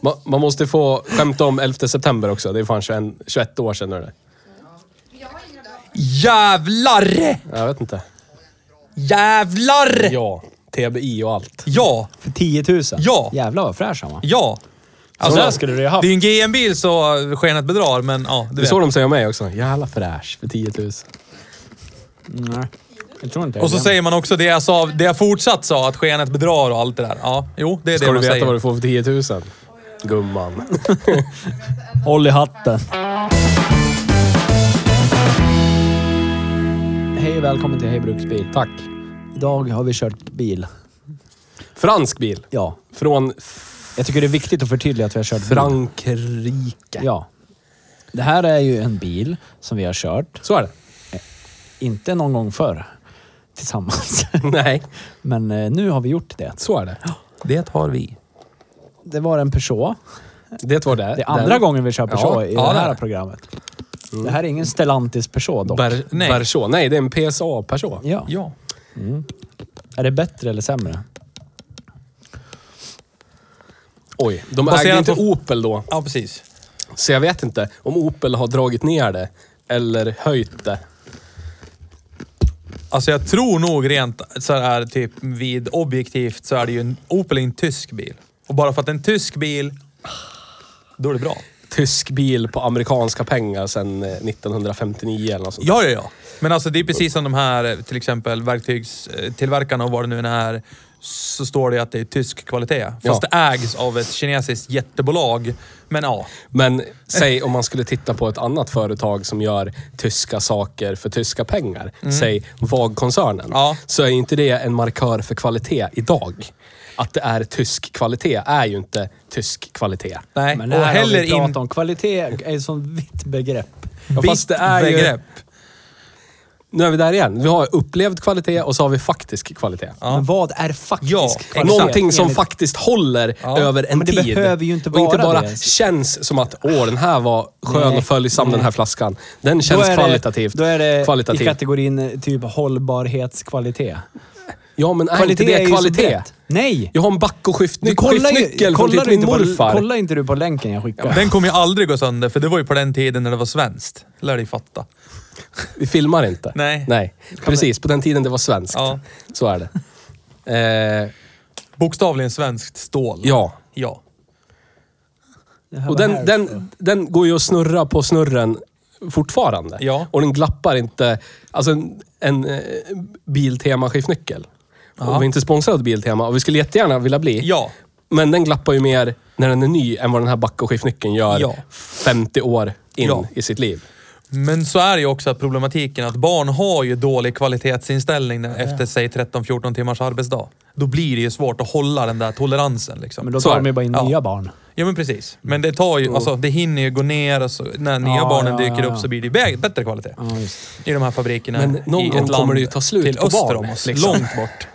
Man, man måste få skämta om 11 september också. Det är fan 21, 21 år sedan. Eller? Jävlar! Jag vet inte. Jävlar! Ja, TBI och allt. Ja, För 10 000? Ja. Jävlar vad fräsch han var. ja. Alltså, där skulle du ju haft. Det är ju en GM-bil så skenet bedrar, men ja, du Det är vet. så de säger om mig också. Jävla fräsch för 10 000. Mm, Nej, jag tror inte Och så säger man också det jag, sa, det jag fortsatt sa, att skenet bedrar och allt det där. Ja, jo, det är Ska det du man veta säger. vad du får för 10 000? Gumman. Håll i hatten. Hej och välkommen till Hej Bruksbil. Tack. Idag har vi kört bil. Fransk bil. Ja. Från Jag tycker det är viktigt att förtydliga att vi har kört bil. Frankrike. Ja. Det här är ju en bil som vi har kört. Så är det. Inte någon gång förr. Tillsammans. Nej, Men eh, nu har vi gjort det. så är det. Det har vi. Det var en Peugeot. Det var det. Det är andra Den- gången vi kör Peugeot Ja, i ja, det här det är. programmet. Det här är ingen Stellantis Peugeot dock. Ber, Nej. nej. Berchot. Nej, det är en PSA Peugeot. Ja. Ja. Är det bättre eller sämre? Oj, de Baserat ägde inte på- Opel då. ja, precis. Så jag vet inte om Opel har dragit ner det eller höjt det. Alltså jag tror nog rent så här typ vid objektivt så är det ju en Opel är en tysk bil. Och bara för att det är en tysk bil, då är det bra. Tysk bil på amerikanska pengar sedan eh, 1959 eller något sånt. Ja, ja, ja. Men alltså det är precis som de här eh, till exempel verktygstillverkarna och vad det nu än är. Så står det att det är tysk kvalitet. Fast Ja. det ägs av ett kinesiskt jättebolag. Men ja. Men säg om man skulle titta på ett annat företag som gör tyska saker för tyska pengar. Säg VAG-koncernen. Mm. Ja. Så är ju inte det en markör för kvalitet idag. Att det är tysk kvalitet är ju inte tysk kvalitet. Nej. Men och här har heller vi pratat in... om. Kvalitet är ett sånt vitt begrepp. Ja, fast det är ju- begrepp. Nu är vi där igen. Vi har upplevd kvalitet och så har vi faktisk kvalitet. Men vad är faktiskt Ja, kvalitet? Någonting som Enligt- faktiskt håller över en Men det tid. behöver ju inte och inte vara bara det. känns som att åh, den här var skön Nej. och följsam, den här flaskan. Den Då känns är det- kvalitativt. Då är det i Kvalitativt. kategorin eh, typ hållbarhetskvalitet. Ja, men är inte det ju så kvalitet? brett. Nej! Jag har en back och skiftny- Du kollar ju, skiftnyckel från typ kollar, du min inte på, morfar. kollar inte du på länken jag skickar? Den kommer ju aldrig gå sönder, för det var ju på den tiden när det var svenskt. Lär dig fatta. Vi filmar inte. Nej. Nej. Precis, på den tiden det var svenskt. Ja. Så är det. Eh, Bokstavligen svenskt stål. ja. Ja. Det här Och var den, här också. den, den går ju att snurra på snurren fortfarande. Ja. Och den glappar inte. Alltså en, en eh, Biltema-skiftnyckel. Och vi är inte sponsrade av Biltema och vi skulle jättegärna vilja bli. Ja. Men den glappar ju mer när den är ny än vad den här back och skiftnyckeln gör Ja. 50 år in Ja. i sitt liv. Men så är det ju också problematiken att barn har ju dålig kvalitetsinställning när- efter säg 13-14 timmars arbetsdag. Då blir det ju svårt att hålla den där toleransen liksom. Men då så tar är de ju bara in det. Ja. nya barn. Ja men precis. Mm. Men det tar ju, alltså det hinner ju gå ner och så, när nya Ja, barnen ja, dyker ja, upp ja. så blir det bä- bättre kvalitet. Ja, just. I de här fabrikerna Men någon i ett gång land kommer det ju ta slut till på öster barn, om oss. liksom. Långt bort.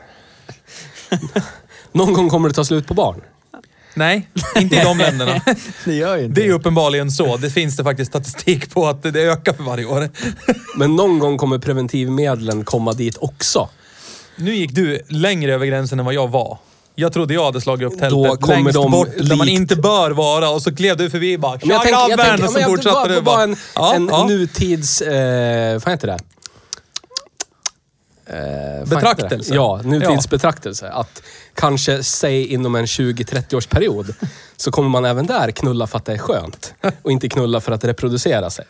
Någon gång kommer det ta slut på barn. Nej, inte i de länderna. Det gör ju inte Det är ju uppenbarligen så. Det finns det faktiskt statistik på att det ökar för varje år. Men någon gång kommer preventivmedlen komma dit också. Nu gick du längre över gränsen än vad jag var. Jag trodde jag hade slagit upp Då tältet kommer längst de bort där man likt- inte bör vara och så klev du förbi bara Men jag “Tja tänker, jag grabben!” tänker, och men så jag fortsatte bara, du bara bara. en, Ja, en ja. nutids... Eh, vad heter det? Eh, vad heter Betraktelse. det? Ja, Ja. nutidsbetraktelse. Att kanske, säg inom en 20-30-årsperiod, så kommer man även där knulla för att det är skönt. Och inte knulla för att reproducera sig.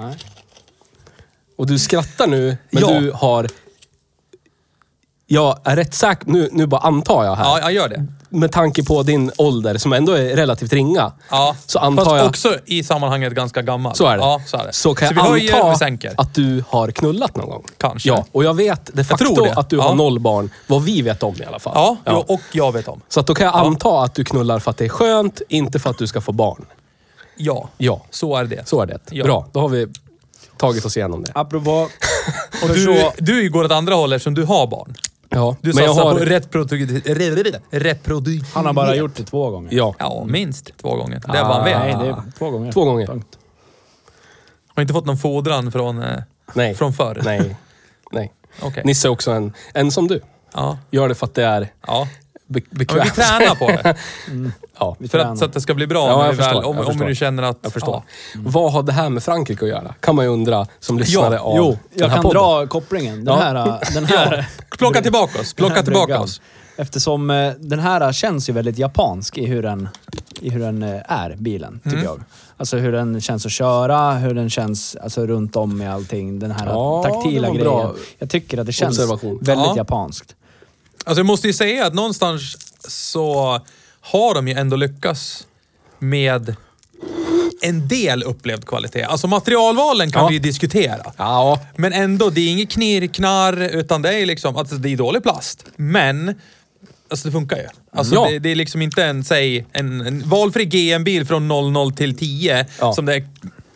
Nej. Och du skrattar nu, men Ja. du har... Jag är rätt säker, nu, nu bara antar jag här. Ja, jag gör det. Med tanke på din ålder, som ändå är relativt ringa. Ja. Så antar Fast jag... också i sammanhanget ganska gammal. Så är det. Ja, så är det. Så kan så vi jag höjer, anta vi sänker. att du har knullat någon gång. Kanske. Ja, och jag vet de facto tror det. att du Ja. har noll barn. Vad vi vet om i alla fall. Ja, ja, och jag vet om. Så att då kan jag anta att du knullar för att det är skönt, inte för att du ska få barn. Ja, Ja, så är det. så är det. Ja. Bra, då har vi tagit oss igenom det. Apropå... Och du, du går åt andra hållet som du har barn. Ja, Du men jag satsar har... på reprodu- reproduktion. Han har bara gjort det två gånger. Ah, Ja. Ja, minst två gånger. Det är vad han Ah, vet. Nej, det är två gånger. Två gånger. Punkt. Har inte fått någon fodran från, eh, Nej. från förr? Nej. Nej. Okej. Nisse är också en, en som du. Ja. Gör det för att det är ja. Ja, be Men vi bekvämt. tränar på det. Ja. Vi För tränar. att, så att det ska bli bra Ja, när jag vi väl, förstår. om, Jag om förstår. du känner att... Jag förstår. Vad har det här med Frankrike att göra? Kan man ju undra som lyssnare Ja, av Jo, den jag här kan podden. dra kopplingen. Den Ja. här... Den här Ja. Plocka tillbaka oss. Plocka den här tillbaka bryggan. oss. Eftersom eh, den här känns ju väldigt japansk i hur den, i hur den eh, är, bilen, Mm. tycker jag. Alltså hur den känns att köra, hur den känns alltså, runt om i allting. Den här Ja, taktila det var grejen. bra Jag tycker att det känns observation. väldigt Ja. japanskt. Alltså jag måste ju säga att någonstans så har de ju ändå lyckats med en del upplevd kvalitet. Alltså materialvalen kan Ja. vi ju diskutera. Ja, Men ändå, det är inget knirknarr, utan det är liksom, alltså det är dålig plast. Men, alltså det funkar ju. Alltså Ja. det, det är liksom inte en, säg, en, en valfri GM-bil från 00 till 10 Ja. som det är,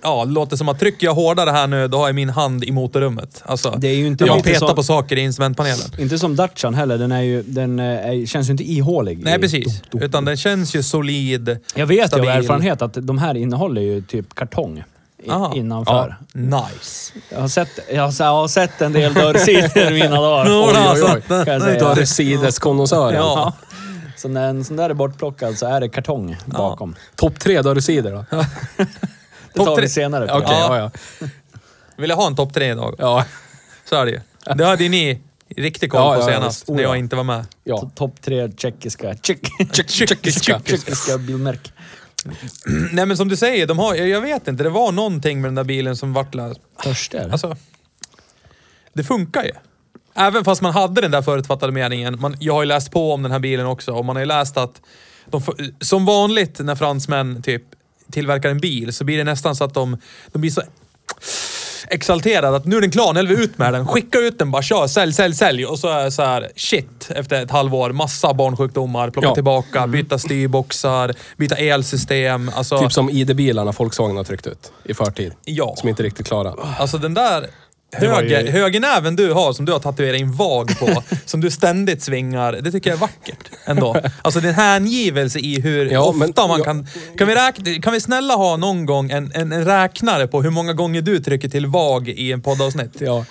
ja, låter som att trycker jag hårdare här nu, då har jag min hand i motorrummet. Alltså, Det är ju inte när man lite petar som- på saker i instrumentpanelen. Inte som Dacian heller, den, är ju, den eh, är, känns ju inte ihålig. Nej, i- precis. Utan den känns ju solid, Jag vet ju av stabil. erfarenhet att de här innehåller ju typ kartong i, Aha. innanför. Nice. Jag, har sett, jag, har, jag har sett en del dörrsidor i mina dagar. Några har oj, oj. satt den. Kan jag säga. du har sideskonnässören. Ja. Ja. Så när en sån där är bortplockad så är det kartong bakom. Topp tre, då har du sidor då? Okej, Det Topp tar tre. vi senare. ja. på. ja, ja. Vill jag ha en topp tre idag? ja. Så är det ju. Det hade ju ni riktigt koll Ja, på ja, ja, senast, visst. Oh, när jag ja. inte var med. ja. Topp tre tjeckiska, tjeck, Tjeckiska. tjeckiska bilmärken. Nej men som du säger, de har, jag jag vet inte, det var någonting med den där bilen som vart... la- Törstig eller? Alltså, det funkar ju. Även fast man hade den där förutfattade meningen. Man, jag har ju läst på om den här bilen också och man har ju läst att de, får- som vanligt när fransmän typ tillverkar en bil så blir det nästan så att de, de blir så exalterade att nu är den klar, nu häller vi ut med den. Skicka ut den, bara kör, sälj, sälj, sälj. Och så är det så här, shit, efter ett halvår, massa barnsjukdomar, plocka Ja. tillbaka, byta styrboxar, byta elsystem. Alltså, Typ som ID-bilarna Volkswagen har tryckt ut i förtid. Ja. Som inte är riktigt klara. Alltså den där var ju- höger, högernäven du har, som du har tatuerat in vag på, som du ständigt svingar, det tycker jag är vackert ändå. Alltså det är en hängivelse i hur Ja, ofta men- man ja. kan... Kan vi, räkna, kan vi snälla ha någon gång en, en, en räknare på hur många gånger du trycker till vag i en poddavsnitt? Ja.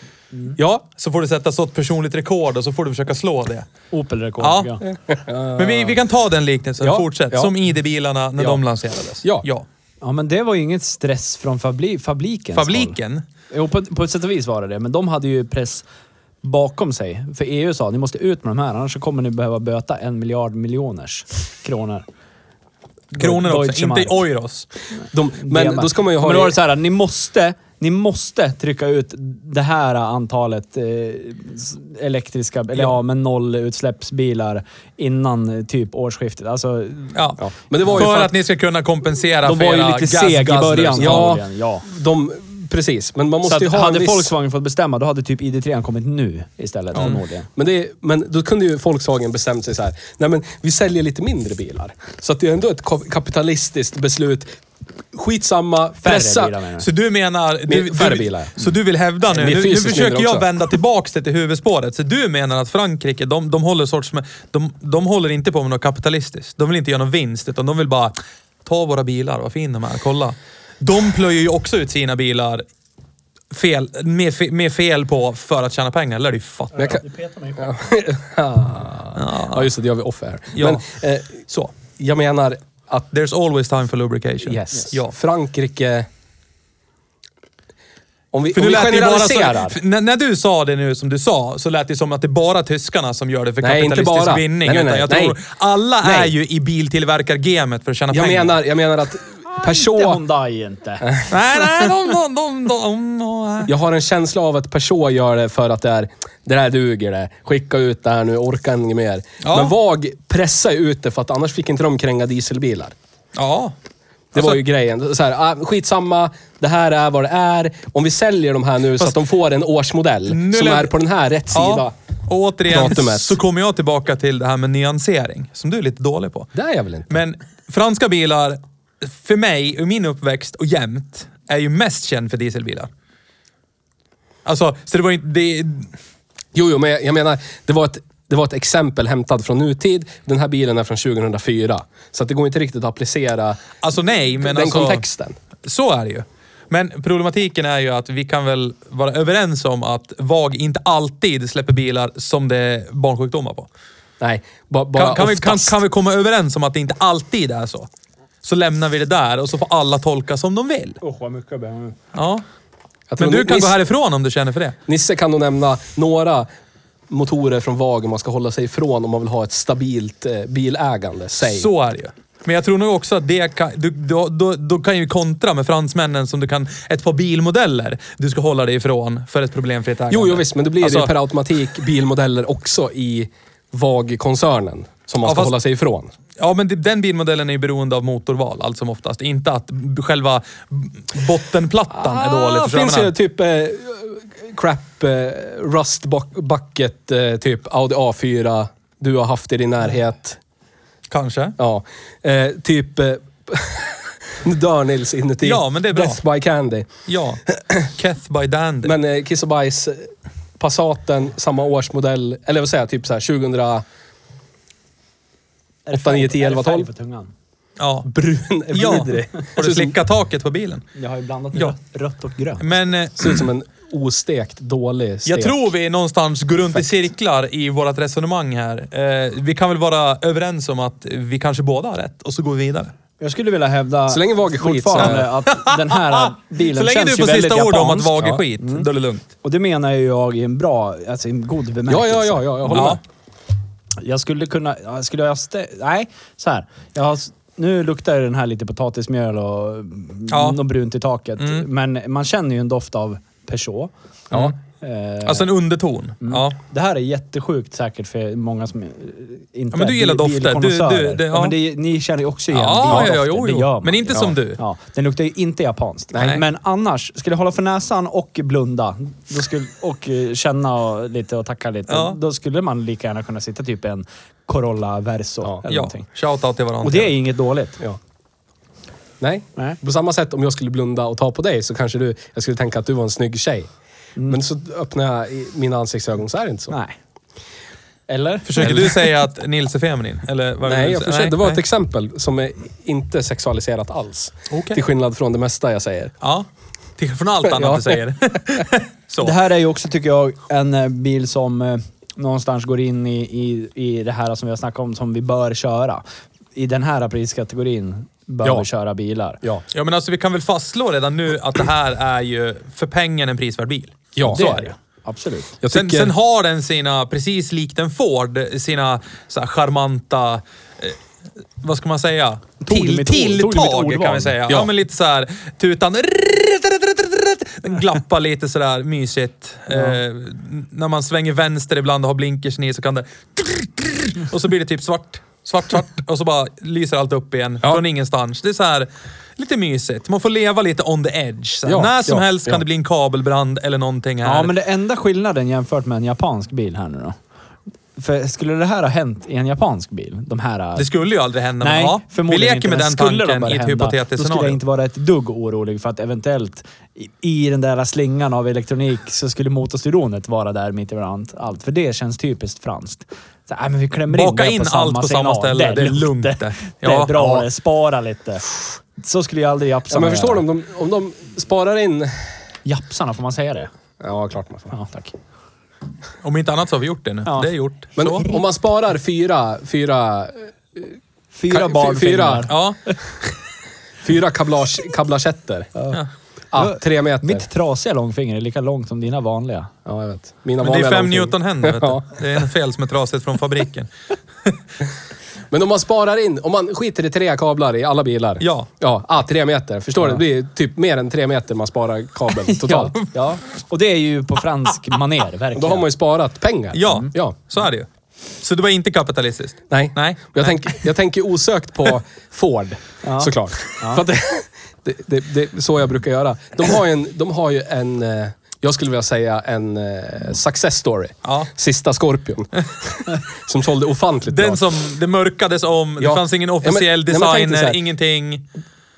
Ja. Så får du sätta så ett personligt rekord och så får du försöka slå det. Opel-rekord Ja. tycker jag. Men vi, vi kan ta den liknelsen, Ja, fortsätt. ja. Som ID-bilarna när Ja. de lanserades. Ja. ja. ja, men det var ju inget stress från fabli fabriken. Fabriken. Jo, på, på ett sätt och vis var det det. Men de hade ju press bakom sig. För EU sa ni måste ut med de här, annars så kommer ni behöva böta en miljard miljoners kronor. Kronor också, Deutsche inte Mark. euros. De, men DM. då ska man ju ha... Men då var det så här, ni måste, ni måste trycka ut det här antalet eh, s- elektriska, eller ja, men nollutsläppsbilar innan eh, typ årsskiftet. Alltså, Ja. Ja. Men det var ju för för- att ni ska kunna kompensera de för var ju era lite gas- seg i guzzlers. början. Ja. antagligen, ja. de, precis, men man Så måste att, ju ha en hade viss... Volkswagen fått bestämma, då hade typ ID3 kommit nu istället förmodligen. Men, det, är- men då kunde ju Volkswagen bestämt sig så här. Nej men vi säljer lite mindre bilar. Så att det är ändå ett ko- kapitalistiskt beslut. Skitsamma, Färre pressa. bilar menar du? Så du menar... Du, Med färre du, bilar. Så du vill hävda nu, Men det är nu, nu fysiskt försöker mindre jag också. vända tillbaks det till huvudspåret. Så du menar att Frankrike, de, de håller sorts... med- De, de håller inte på med något kapitalistiskt. De vill inte göra någon vinst, utan de vill bara ta våra bilar, vad fin de är, kolla. De plöjer ju också ut sina bilar fel, med, fe- med fel på för att tjäna pengar. Lär du fatta. Men jag kan... Ja, just det. Det gör vi off här. Ja. Men, eh, Så. jag menar att There's always time for lubrication. yes, Ja. Frankrike... Om vi, För om nu vi lät det ju bara så, generaliserar. f- när, när du sa det nu som du sa, så lät det som att det är bara tyskarna som gör det för Nej, inte kapitalistisk bara. vinning. Nej, nej, utan nej, jag nej. tror alla är Nej. ju i biltillverkargamet för att tjäna Jag pengar. menar, jag menar att Inte Peugeot, Hyundai inte. Nej, nej, de, de, de, de, de. jag har en känsla av att Peugeot gör det för att det är, det där duger det. Skicka ut det här nu, orkar inget mer. Ja. Men VAG pressar ju ut det för att annars fick inte de kränga dieselbilar. Ja. Det Alltså- var ju grejen. Så här, ah, skitsamma, det här är vad det är. Om vi säljer de här nu så att de får en årsmodell Nu som lä- är på den här rätt sida. Och återigen Datumet. så kommer jag tillbaka till det här med nyansering, som du är lite dålig på. Det är jag väl inte. Men franska bilar, för mig, ur min uppväxt och jämt, är ju mest känd för dieselbilar. Alltså, så det var inte... Det, Jo, jo, men jag, jag menar, det var, ett, det var ett exempel hämtat från nutid. Den här bilen är från 2004. Så att det går inte riktigt att applicera alltså nej, men den alltså, kontexten. Så är det ju. Men problematiken är ju att vi kan väl vara överens om att VAG inte alltid släpper bilar som det är barnsjukdomar på. Nej, ba, bara Kan, kan, vi, kan, oftast. kan vi komma överens om att det inte alltid är så? Så lämnar vi det där och så får alla tolka som de vill. Usch, vad mycket jag ber om. Ja. Jag tror Men du Nis- kan gå härifrån om du känner för det. Nisse kan nog nämna några motorer från VAG man ska hålla sig ifrån om man vill ha ett stabilt eh, bilägande. Säg. Så är det ju. Men jag tror nog också att det kan, du, då, då, då kan ju kontra med fransmännen som du kan ett par bilmodeller du ska hålla dig ifrån för ett problemfritt ägande. Jo, jo, visst, men då blir det Alltså- ju per automatik bilmodeller också i VAG-koncernen som man Ja, ska fast- hålla sig ifrån. Ja, men det, den bilmodellen är ju beroende av motorval allt som oftast. Inte att b- själva b- bottenplattan är Ah, dålig. förstår du vad jag finns ju menar? typ eh, crap, eh, rust bu- bucket, eh, typ Audi A4 du har haft i din närhet. Kanske. Ja, eh, typ... Eh, nu dör Nils inuti. Ja, men det är bra. Death by Candy. Ja. Keth by Dandy. Men eh, Kiss och Bajs, eh, Passaten, samma årsmodell, eller vad säger jag, typ så här 2000... Är det 8, 9, 10, färg- är det 11, färg 12? på tungan? ja. Brun, ja. vidrig. Har Ser du ut som- slickat taket på bilen? Jag har ju blandat Ja. rött, rött och grönt. Men eh, Ser ut som en ostekt, dålig stek. jag tror vi någonstans går runt i cirklar i vårt resonemang här. Eh, vi kan väl vara överens om att vi kanske båda har rätt och så går vi vidare. Jag skulle vilja hävda Så länge Vag är skit, så- fortfarande att den här bilen Ah, så länge känns du ju får väldigt sista ord om att japansk. Mm. VAG är ja. skit, då är det lugnt. Och det menar ju jag i en bra, alltså i en god Ja, bemärkelse. ja, ja, ja jag håller Ja. med. Jag skulle kunna... ja, Skulle jag... Stä- nej, så här. Jag har, s- nu luktar ju den här lite potatismjöl och mm, Ja. något brunt i taket. Mm. Men man känner ju en doft av Peugeot. Ja. Eh, Alltså en underton. Mm. Ja. det här är jättesjukt säkert för många som eh, inte Ja, men du är gillar bil- dofter. Du- bilkonnässörer. du- det- ja. ja. men det, ni känner ju också igen Ja, bildofter. ja, ja, jo, Det jo. gör man. Men inte ja. som du. Ja, den luktar ju inte japanskt. Nej. Men annars, skulle jag hålla för näsan och blunda då skulle, och eh, känna och lite och tacka lite, Ja. då skulle man lika gärna kunna sitta typ i en Corolla Verso Ja. eller Ja. någonting. Shoutout till varandra. Och det är inget dåligt. Ja. Nej. Nej. På samma sätt om jag skulle blunda och ta på dig så kanske du, jag skulle tänka att du var en snygg tjej. Men så öppnar jag i mina ansiktsögon så är det inte så. Nej. Eller? Försöker du säga att Nils är feminin? Eller vad Nej, vill jag du säga? försöker, det var nej. ett exempel som är inte sexualiserat alls. Okej. Till skillnad från det mesta jag säger. Ja, till från allt annat Ja. du säger. Så. Det här är ju också, tycker jag, en eh, bil som eh, någonstans går in i, i, i det här som vi har snackat om, som vi bör köra. I den här priskategorin bör Ja. vi köra bilar. Ja. Ja, men alltså vi kan väl fastslå redan nu att det här är ju för pengen en prisvärd bil. Ja, så det är är det. det. Absolut. Jag Sen, tycker, sen har den sina, precis likt en Ford, sina så här, charmanta, eh, vad ska man säga? Tog du Till, mitt ord- tog du mitt tilltag ordval? kan vi säga. Ja. Ja. men lite så här tutan. Den glappar lite sådär mysigt. Eh, när man svänger vänster ibland och har blinkersen i så kan det... Och så blir det typ svart. Svart, svart. Och så bara lyser allt upp igen. Från ingenstans. Det är så här lite mysigt. Man får leva lite on the edge. Så här. Ja, När som ja, helst kan ja. det bli en kabelbrand eller någonting här. Ja, men det enda skillnaden jämfört med en japansk bil här nu då. För skulle det här ha hänt i en japansk bil? De här... Det skulle ju aldrig hända. men, Nej, ja, vi förmodligen leker inte. med men den skulle tanken de börja i ett hända, hypotetiskt Då skulle jag scenario. inte vara ett dugg orolig för att eventuellt i, i den där slingan av elektronik så skulle motorstyronet vara där mitt ibland allt. För det känns typiskt franskt. Så, nej, men vi klämmer Baka in, det in på samma allt på samma signal. ställe. Det är lugnt det. Det Ja, är bra ja. det. Spara lite. Så skulle jag aldrig japsarna ja, men förstår göra. du om de, om de sparar in... Japsarna, får man säga det? Ja, klart man får. Ja, tack. Om inte annat så har vi gjort det nu. Ja. Det är gjort. Men så. om man sparar fyra, fyra, Fyra Kan- barn fyra. Ja, fyra kablage, kablagetter. Ja. Ja, tre meter. Mitt trasiga långfinger är lika långt som dina vanliga. Ja, jag vet. Mina men det vanliga är fem någonting. Newton händer. Vet du. Ja. Det är en fel som är trasigt från fabriken. Men om man sparar in, om man skiter i tre kablar i alla bilar. Ja. Ja, ah, tre meter. Förstår du? Det blir typ mer än tre meter man sparar kabeln totalt. Ja, ja. Och det är ju på fransk maner, verkligen. Då har man ju sparat pengar. Ja, Mm. ja. så är det ju. Så det var inte kapitalistiskt? Nej. Nej. Jag, tänker- jag tänker osökt på Ford, såklart. För att det, det, det, det är så jag brukar göra. De har ju en, de har ju en eh, jag skulle vilja säga en eh, success story. Ja. Sista Scorpion. som sålde ofantligt bra. Den som det mörkades om, Ja. det fanns ingen Ja, men- officiell nej, men tänk dig så designer, här. ingenting.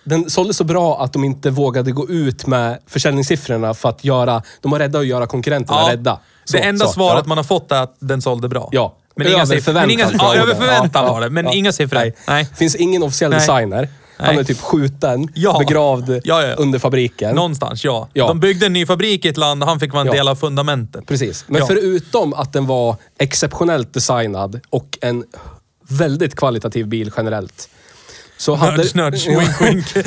Den sålde så bra att de inte vågade gå ut med försäljningssiffrorna för att göra... De var rädda att göra konkurrenterna Ja. rädda. Så, det enda så, svaret ja. man har fått är att den sålde bra. Ja. Men Över inga siffror. Men inga, förväntan, ja, tror jag över det var. förväntan Ja. var det, men Ja. inga siffror. Nej. Finns ingen officiell Nej. designer. Han Nej. är typ skjuten, Ja. begravd Ja, ja. under fabriken. Någonstans, ja. Ja. De byggde en ny fabrik i ett land och han fick vara en Ja. del av fundamentet. Precis. Men Ja. förutom att den var exceptionellt designad och en väldigt kvalitativ bil generellt. Så hade... Nudge, nudge, wink, wink.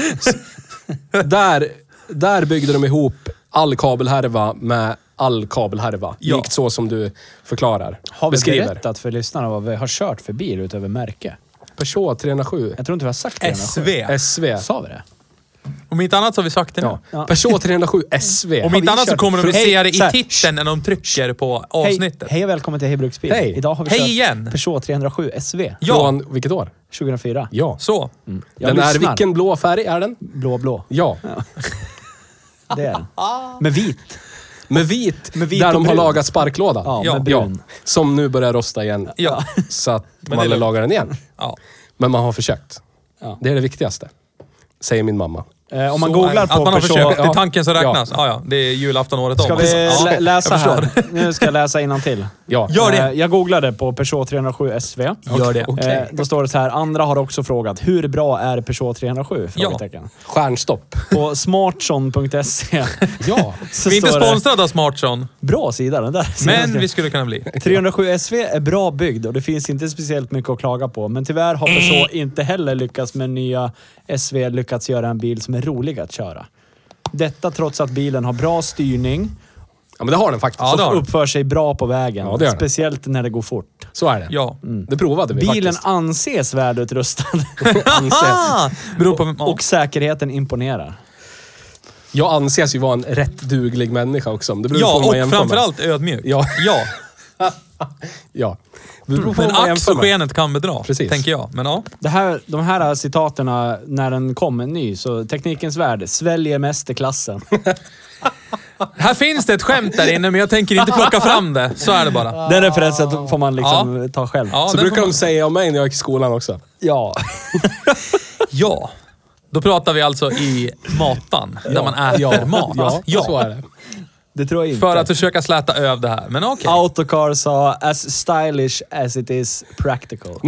Där, där byggde de ihop all kabelhärva med all kabelhärva. Ja. Likt så som du förklarar. Har vi beskriver. berättat för lyssnarna vad vi har kört för bil utöver märke? Peugeot 307. Jag tror inte vi har sagt det. SV. SV. Sa vi det? Om inte annat så har vi sagt det nu. Ja. Peugeot 307 SV. Om inte annat så kommer de att Hej, se det så i här. titeln när de trycker på Hej, avsnittet. hej och välkommen till Hej Bruksbil. Hej. Idag har vi Hej kört igen. Peugeot 307 SV Ja. Från vilket år? 2004. Ja. Så. Jag den är, lyssnar. vilken blå färg är den? Blå, blå. Ja. Det är den. Med vit. Med vit, Med vit där och de har brun. lagat sparklådan. Ja, Ja. med brun. Som nu börjar rosta igen. Ja. Så att man det är aldrig lugnt. lagar den igen. Ja. Men man har försökt. Ja. Det är det viktigaste. Säger min mamma. Eh, om man Så är googlar det. Att på man har Peugeot... försökt. Det är ja. tanken som Ja. räknas. Ja. Ja, Det är julafton året Ska om. vi Ja. lä- läsa jag förstår. här? Nu ska jag läsa innantill. Ja. Gör det. Eh, Jag googlade på Peugeot 307 SV. Gör det. Eh, Då står det så här, andra har också frågat, hur bra är Peugeot 307? Frågetecken. Stjärnstopp. På smartson.se Ja. E så Vi är inte står det- sponsrade av Smartson, Bra sida den där. men vi skulle kunna bli. 307 SV är bra byggd och det finns inte speciellt mycket att klaga på. Men tyvärr har Peugeot Mm. inte heller lyckats med nya SV lyckats göra en bil som är rolig att köra. Detta trots att bilen har bra styrning ja, men det har den faktiskt. Ja, det har och den. uppför sig bra på vägen. Ja, det gör den. speciellt när det går fort. Så är det. Mm. Ja. Det provade vi Bilen faktiskt. anses välutrustad Anses, Ah, beror på... ja. och säkerheten imponerar. jag anses ju vara en rätt duglig människa också. om Det beror på hur Ja, man och jämför med. framförallt ödmjuk. Ja. ja. Ja. Det beror på Men hur man ax jämför och med. skenet kan bedra, Precis. tänker jag. Men ja. Det här, de här citaterna, när den kom en ny, så Teknikens Värld sväljer mästerklassen. Här finns det ett skämt där inne, men jag tänker inte plocka fram det. Så är det bara. Den referensen får man liksom ta själv. Ja, Så den brukar får de säga om mig när jag gick i skolan också. ja. Ja. Då pratar vi alltså i matan, där man äter mat. Ja, så är det. Det tror jag inte. För att försöka släta över det här. Men okej. Autocar sa “as stylish as it is practical”.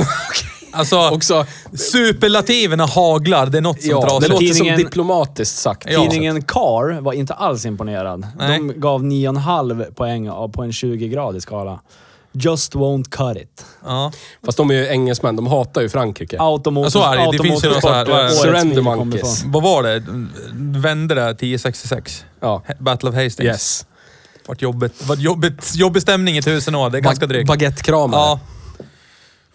Alltså, Också, superlativerna haglar. Det är något som ja, dras det ut. låter Tidningen- som diplomatiskt sagt. Ja. Tidningen Car var inte alls imponerad. Nej. De gav 9,5 poäng av- på en 20-gradig skala. Just won't cut it. Ja. Fast de är ju engelsmän, de hatar ju Frankrike. Automotor, Ja, så är det. Det finns ju någon så här- automotorsport, vad är det? årets Surrender bil kommer Monkeys. ifrån. Vad var det? Vände det 1066? Ja. Battle of Hastings. Yes. Vart jobbigt, vart jobbigt, jobbig stämning i tusen år. Det är ganska drygt. Baguettekramare. Ja.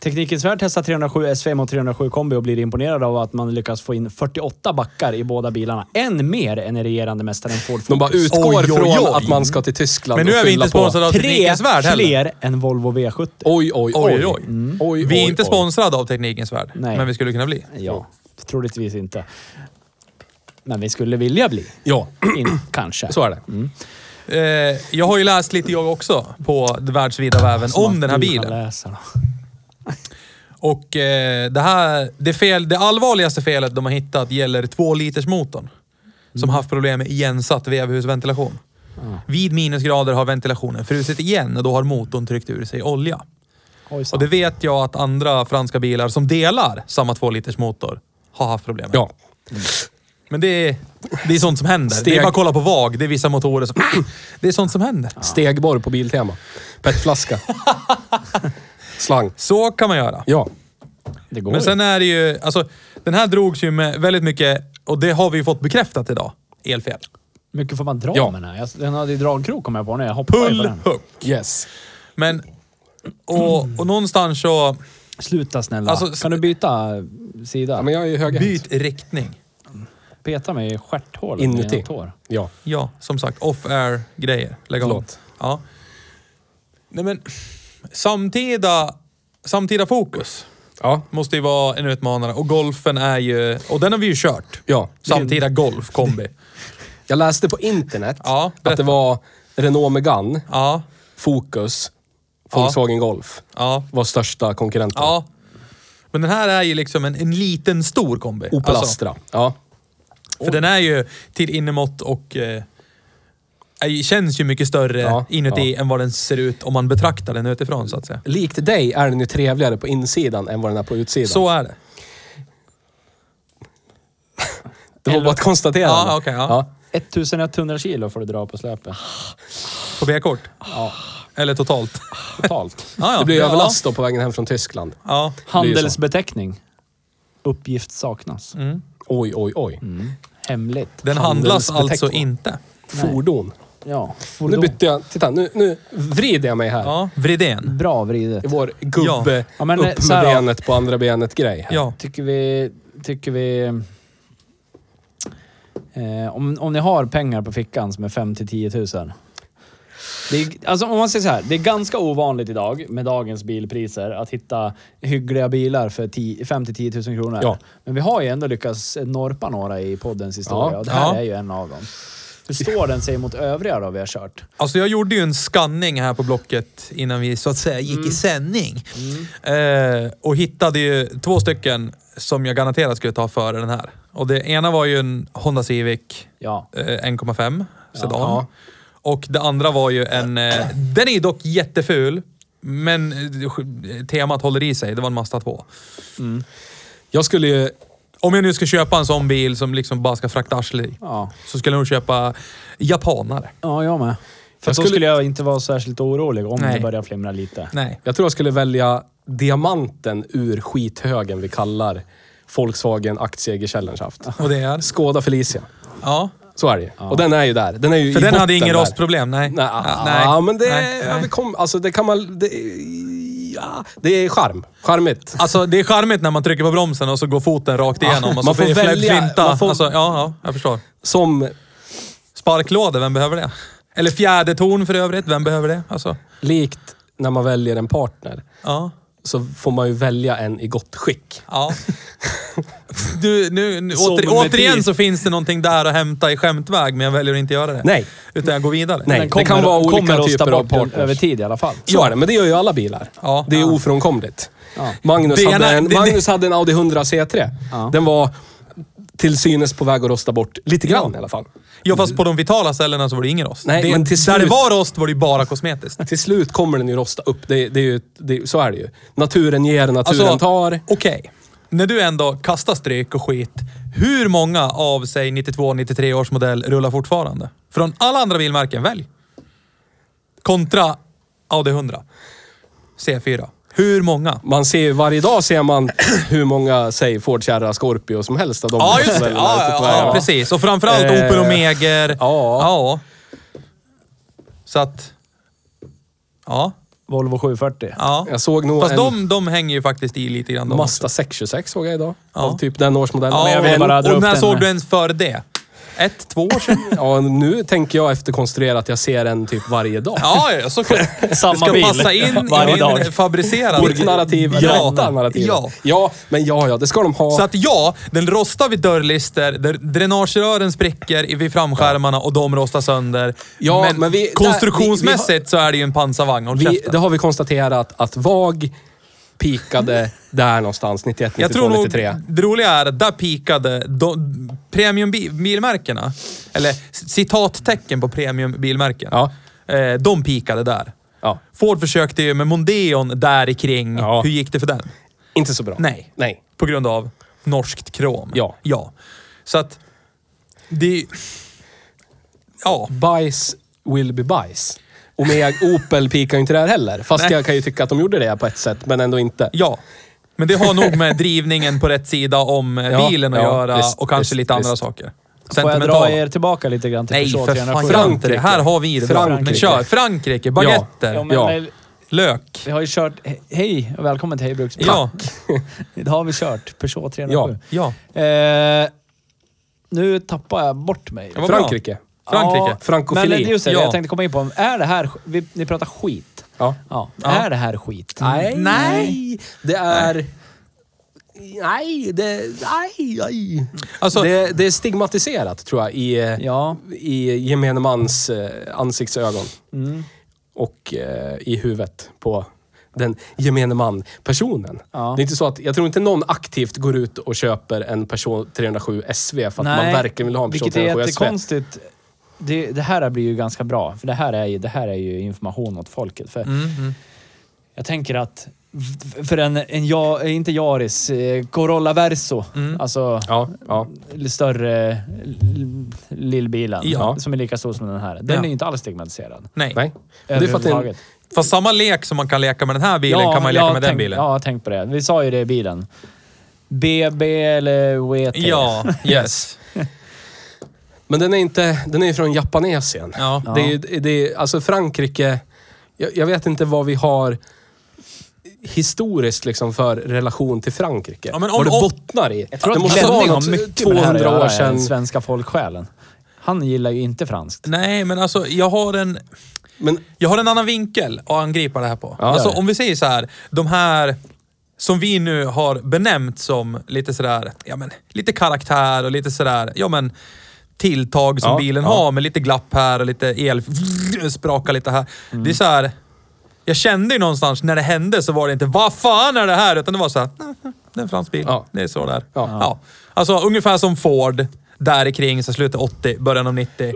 Teknikens Värld testar 307 SV mot 307 kombi och blir imponerad av att man lyckas få in 48 backar i båda bilarna. Än mer än i regerande mästaren Ford De bara Focus. utgår Oj, oj, från oj. att man ska till Tyskland Men nu och är vi fylla inte sponsrade av Tre Teknikens Värld heller. fler än Volvo V70. På. Oj, oj, oj. Oj, oj. oj, Vi är oj, inte oj. sponsrade av Teknikens Värld, Nej. men vi skulle kunna bli. Ja, troligtvis inte. Men vi skulle vilja bli. Ja, In, kanske. så är det. Eh, jag har ju läst lite jag också på världsvida väven Som om att den här du kan bilen. läsa då. Och eh, det, här, det, fel, det allvarligaste felet de har hittat gäller två liters motorn Som haft problem med igensatt vevhusventilation. Ah. Vid minusgrader har ventilationen frusit igen och då har motorn tryckt ur sig olja. Ojsan. Och det vet jag att andra franska bilar som delar samma två liters motor har haft problem med. Ja. Men det är, det är sånt som händer. Det Steg- är bara att kolla på VAG. Det är vissa motorer som... Det är sånt som händer. Stegborr på Biltema. Petflaska. Slang. Så kan man göra. Ja. Det går Men ju. sen är det ju, alltså den här drogs ju med väldigt mycket, och det har vi ju fått bekräftat idag, elfel. mycket får man dra Ja. med den här. Jag- Den hade ju dragkrok kom jag på nu. Jag hoppade ju på Pull den. hook. Yes. Men, och, och någonstans så, Sluta snälla. Alltså, s- kan du byta sida? Ja, men jag är ju högerhänt. Byt riktning. Peta mig i stjärthålet Inuti. med tår. Ja. Ja, som sagt. Off-air-grejer. Lägg av. Förlåt. Ja. Nej men, samtida, samtida fokus Ja. måste ju vara en utmanare. Och golfen är ju... Och den har vi ju kört. Ja. Samtida golfkombi. Jag läste på internet Ja, att berätta. det var Renault Megane, Ja, Focus, Volkswagen Golf ja, var största konkurrenten. ja. Men den här är ju liksom en, en liten stor kombi. Opel Alltså, Astra. Ja. För den är ju till innemått och eh, är- känns ju mycket större Ja, inuti än vad den ser ut om man betraktar den utifrån så att säga. Likt dig är den ju trevligare på insidan än vad den är på utsidan. Så är det. det var bara ett konstaterande. Ja, okej, ja. 1100 kilo får du dra på släpet. På B-kort? Eller totalt? Totalt. Ja, ja. Det blir ju ja, överlast då på vägen hem från Tyskland. Ja. Handelsbeteckning. Uppgift saknas. Oj, oj, oj. Hemligt. Mm. Den handlas Handelsbeteckning. alltså inte. Fordon. Ja, Nu fordon. bytte jag. Titta, nu, nu vrider jag mig här. Ja, Vridén. Bra vridet. I vår gubbe Ja. Ja, men, eh, upp så med här då. benet på andra benet-grej. här. Ja. Tycker vi... Tycker vi eh, om, om ni har pengar på fickan som är 5 till 10 000. Det är, alltså om man säger så här, det är ganska ovanligt idag med dagens bilpriser att hitta hyggliga bilar för 10 5 till 10 000 kronor. Ja. Men vi har ju ändå lyckats norpa några i poddens historia Ja. och det här Ja. är ju en av dem. Hur står den sig mot övriga då vi har kört? Alltså jag gjorde ju en skanning här på Blocket innan vi så att säga gick Mm. i sändning. Eh, och hittade ju två stycken som jag garanterat skulle ta före den här. Och det ena var ju en Honda Civic Ja. eh, 1,5 sedan. Ja. Och det andra var ju en... Eh, den är ju dock jätteful, men eh, temat håller i sig. Det var en Mazda 2. Jag skulle ju... Om jag nu ska köpa en sån bil som liksom bara ska frakta arsle i, Ja, så skulle jag nog köpa japanare. ja jag med. Jag För då skulle- skulle jag inte vara särskilt orolig om Nej. det börjar flimra lite. Nej. Jag tror jag skulle välja diamanten ur skithögen vi kallar Volkswagen aktieägarchallenge haft. Och det är... Skåda Felicia. Ja. Så är det ju. Och den är ju där. Den är ju För i den botten hade ingen där. rostproblem, nej. Nej, Ja, ja, men det, nej, ja, nej. vi kom, alltså det kan man... Det, ja, det är charm. Charmigt. Alltså det är charmigt när man trycker på bromsen och så går foten rakt igenom. och så man får blir det fläpp- välja- flinta. man får- Alltså, ja, ja, jag förstår. Som Sparklådor, vem behöver det? Eller fjädertorn för övrigt, vem behöver det? Alltså, likt när man väljer en partner ja. så får man ju välja en i gott skick. Ja. Du, nu, nu, Som åter, med återigen tid. så finns det någonting där att hämta i skämtväg, men jag väljer att inte göra det. Nej. Utan jag går vidare. Nej. Den Det kan vara olika kommer rosta typer av bort den partners. över tid i alla fall. Så är det, men det gör ju alla bilar. Ja. det är Ja. ofrånkomligt. Ja. Magnus, Det hade, ena- en, det- Magnus hade en Audi 100 C3. Ja. Den var till synes på väg att rosta bort lite grann i alla fall. Ja, fast på de vitala cellerna så var det ingen rost. Nej, det, men till Där det slut- var rost var det ju bara kosmetiskt. Till slut kommer den ju rosta upp. Det, det är ju, det, så är det ju. Naturen ger, naturen tar. Alltså, okej. När du ändå kastar stryk och skit, hur många av, säg 92-93 års modell rullar fortfarande? Från alla andra bilmärken, välj. Kontra Audi 100. C4. Hur många? Man ser ju, varje dag ser man hur många, säg Ford Kärra Scorpio som helst av de Ja, just det. modellerna Ja, typ ute på ja, ja, vägarna. precis. Och framförallt Eh, Opel Omeger. Ja. Så att... Ja. Volvo 740. ja. Jag såg nog Fast en de, de hänger ju faktiskt i lite grann. de också. Mazda 626 såg jag idag. Ja. Av typ den årsmodellen. Ja, men jag och- ville bara dra och upp när den såg med. du ens före det? Ett, två år sedan? ja, nu tänker jag efterkonstruera att jag ser en typ varje dag. Ja, ja, såklart. Samma det ska bil passa in i varje din dag. fabricerade... Ditt narrativ, Ja. rätta narrativet. ja. ja, men ja, ja, det ska de ha. Så att ja, den rostar vid dörrlister, där dränagerören spricker i- vid framskärmarna och de rostar sönder. Ja, men men vi- där- konstruktionsmässigt vi- så är det ju en pansarvagn. Håll vi, käften. det har vi konstaterat att VAG pikade där någonstans, 91, 92, Jag tror nog 93. det roliga är att där pikade de, premiumbilmärkena, eller citattecken på premiumbilmärken, Ja. eh, de pikade där. Ja, Ford försökte ju med Mondeon där kring. Ja. Hur gick det för den? inte så bra. Nej. Nej. På grund av norskt krom. Ja. ja. Så att... Det... Ja. Bajs will be bajs. Omega Opel pikar ju inte där heller. Fast Nej. jag kan ju tycka att de gjorde det på ett sätt, men ändå inte. Ja. Men det har nog med drivningen på rätt sida om eh, Ja, bilen att ja, göra visst, och kanske visst, lite andra visst. saker. Får jag Sentimentala. dra er tillbaka lite grann till Nej, Peugeot för fan. 307? Frankrike. Här har vi det bra. Men Frankrike. kör. Frankrike. Baguetter. Ja, men Ja. väl- Lök. Vi har ju kört... Hej och välkommen till Hej Bruksbil. Ja, Idag har vi kört Peugeot 307. ja. Eh, nu tappar jag bort mig. Det var bra. Frankrike. Frankrike. Frankofili. Men eh, just det, Ja. jag tänkte komma in på. Är det här... Vi, ni pratar skit. Ja. Ja. Är det här skit? Nej. Nej. Det är... Nej, det... Nej, nej. Alltså- det, det är stigmatiserat, tror jag, i, eh, Ja. i gemene mans eh, ansiktsögon. Mm. Och eh, i huvudet på den gemene man-personen. Ja. Det är inte så att, jag tror inte någon aktivt går ut och köper en Peugeot 307 SV för att man Nej, verkligen vill ha en Peugeot Vilket är 307 SV. jättekonstigt. Det, det här blir ju ganska bra, för det här är ju, det här är ju information åt folket. För Mm, Jag tänker att f- för en, en ja, inte Yaris, eh, Corolla Verso, Mm. alltså Ja, ja. l- större l- lillbilen Ja. som är lika stor som den här. Den Ja. är ju inte alls stigmatiserad. Nej. Nej. Det är för att det är en, Överhuvudtaget. Fast samma lek som man kan leka med den här bilen kan man leka jag med den tänk- bilen. Ja, jag har tänkt på det. Vi sa ju det i bilen. BB eller WT. Ja, yes. Men den är inte, den är ju från Japanesien. Ja. Det är, ju- det är, alltså Frankrike, jag, jag vet inte vad vi har historiskt liksom för relation till Frankrike. Ja, men om- vad det om- bottnar i. Jag tror det att måste vara Henning något har mycket med det här att 200 göra, år den sedan. svenska folksjälen. Han gillar ju inte franskt. Nej, men alltså jag har en... Men Jag har en annan vinkel att angripa det här på. Ja, alltså gör det. om vi säger så här, de här som vi nu har benämnt som lite sådär, ja men lite karaktär och lite sådär, ja men tilltag som Ja, bilen ja. har med lite glapp här och lite el, spraka lite här. Mm. Det är så här. jag kände ju någonstans när det hände så var det inte vad fan är det här? Utan det var så här, "Nej, nej, det är en fransk bil. Ja. Det är så där. Ja. Ja. Alltså ungefär som Ford, där kring så slutet 80, början av 90.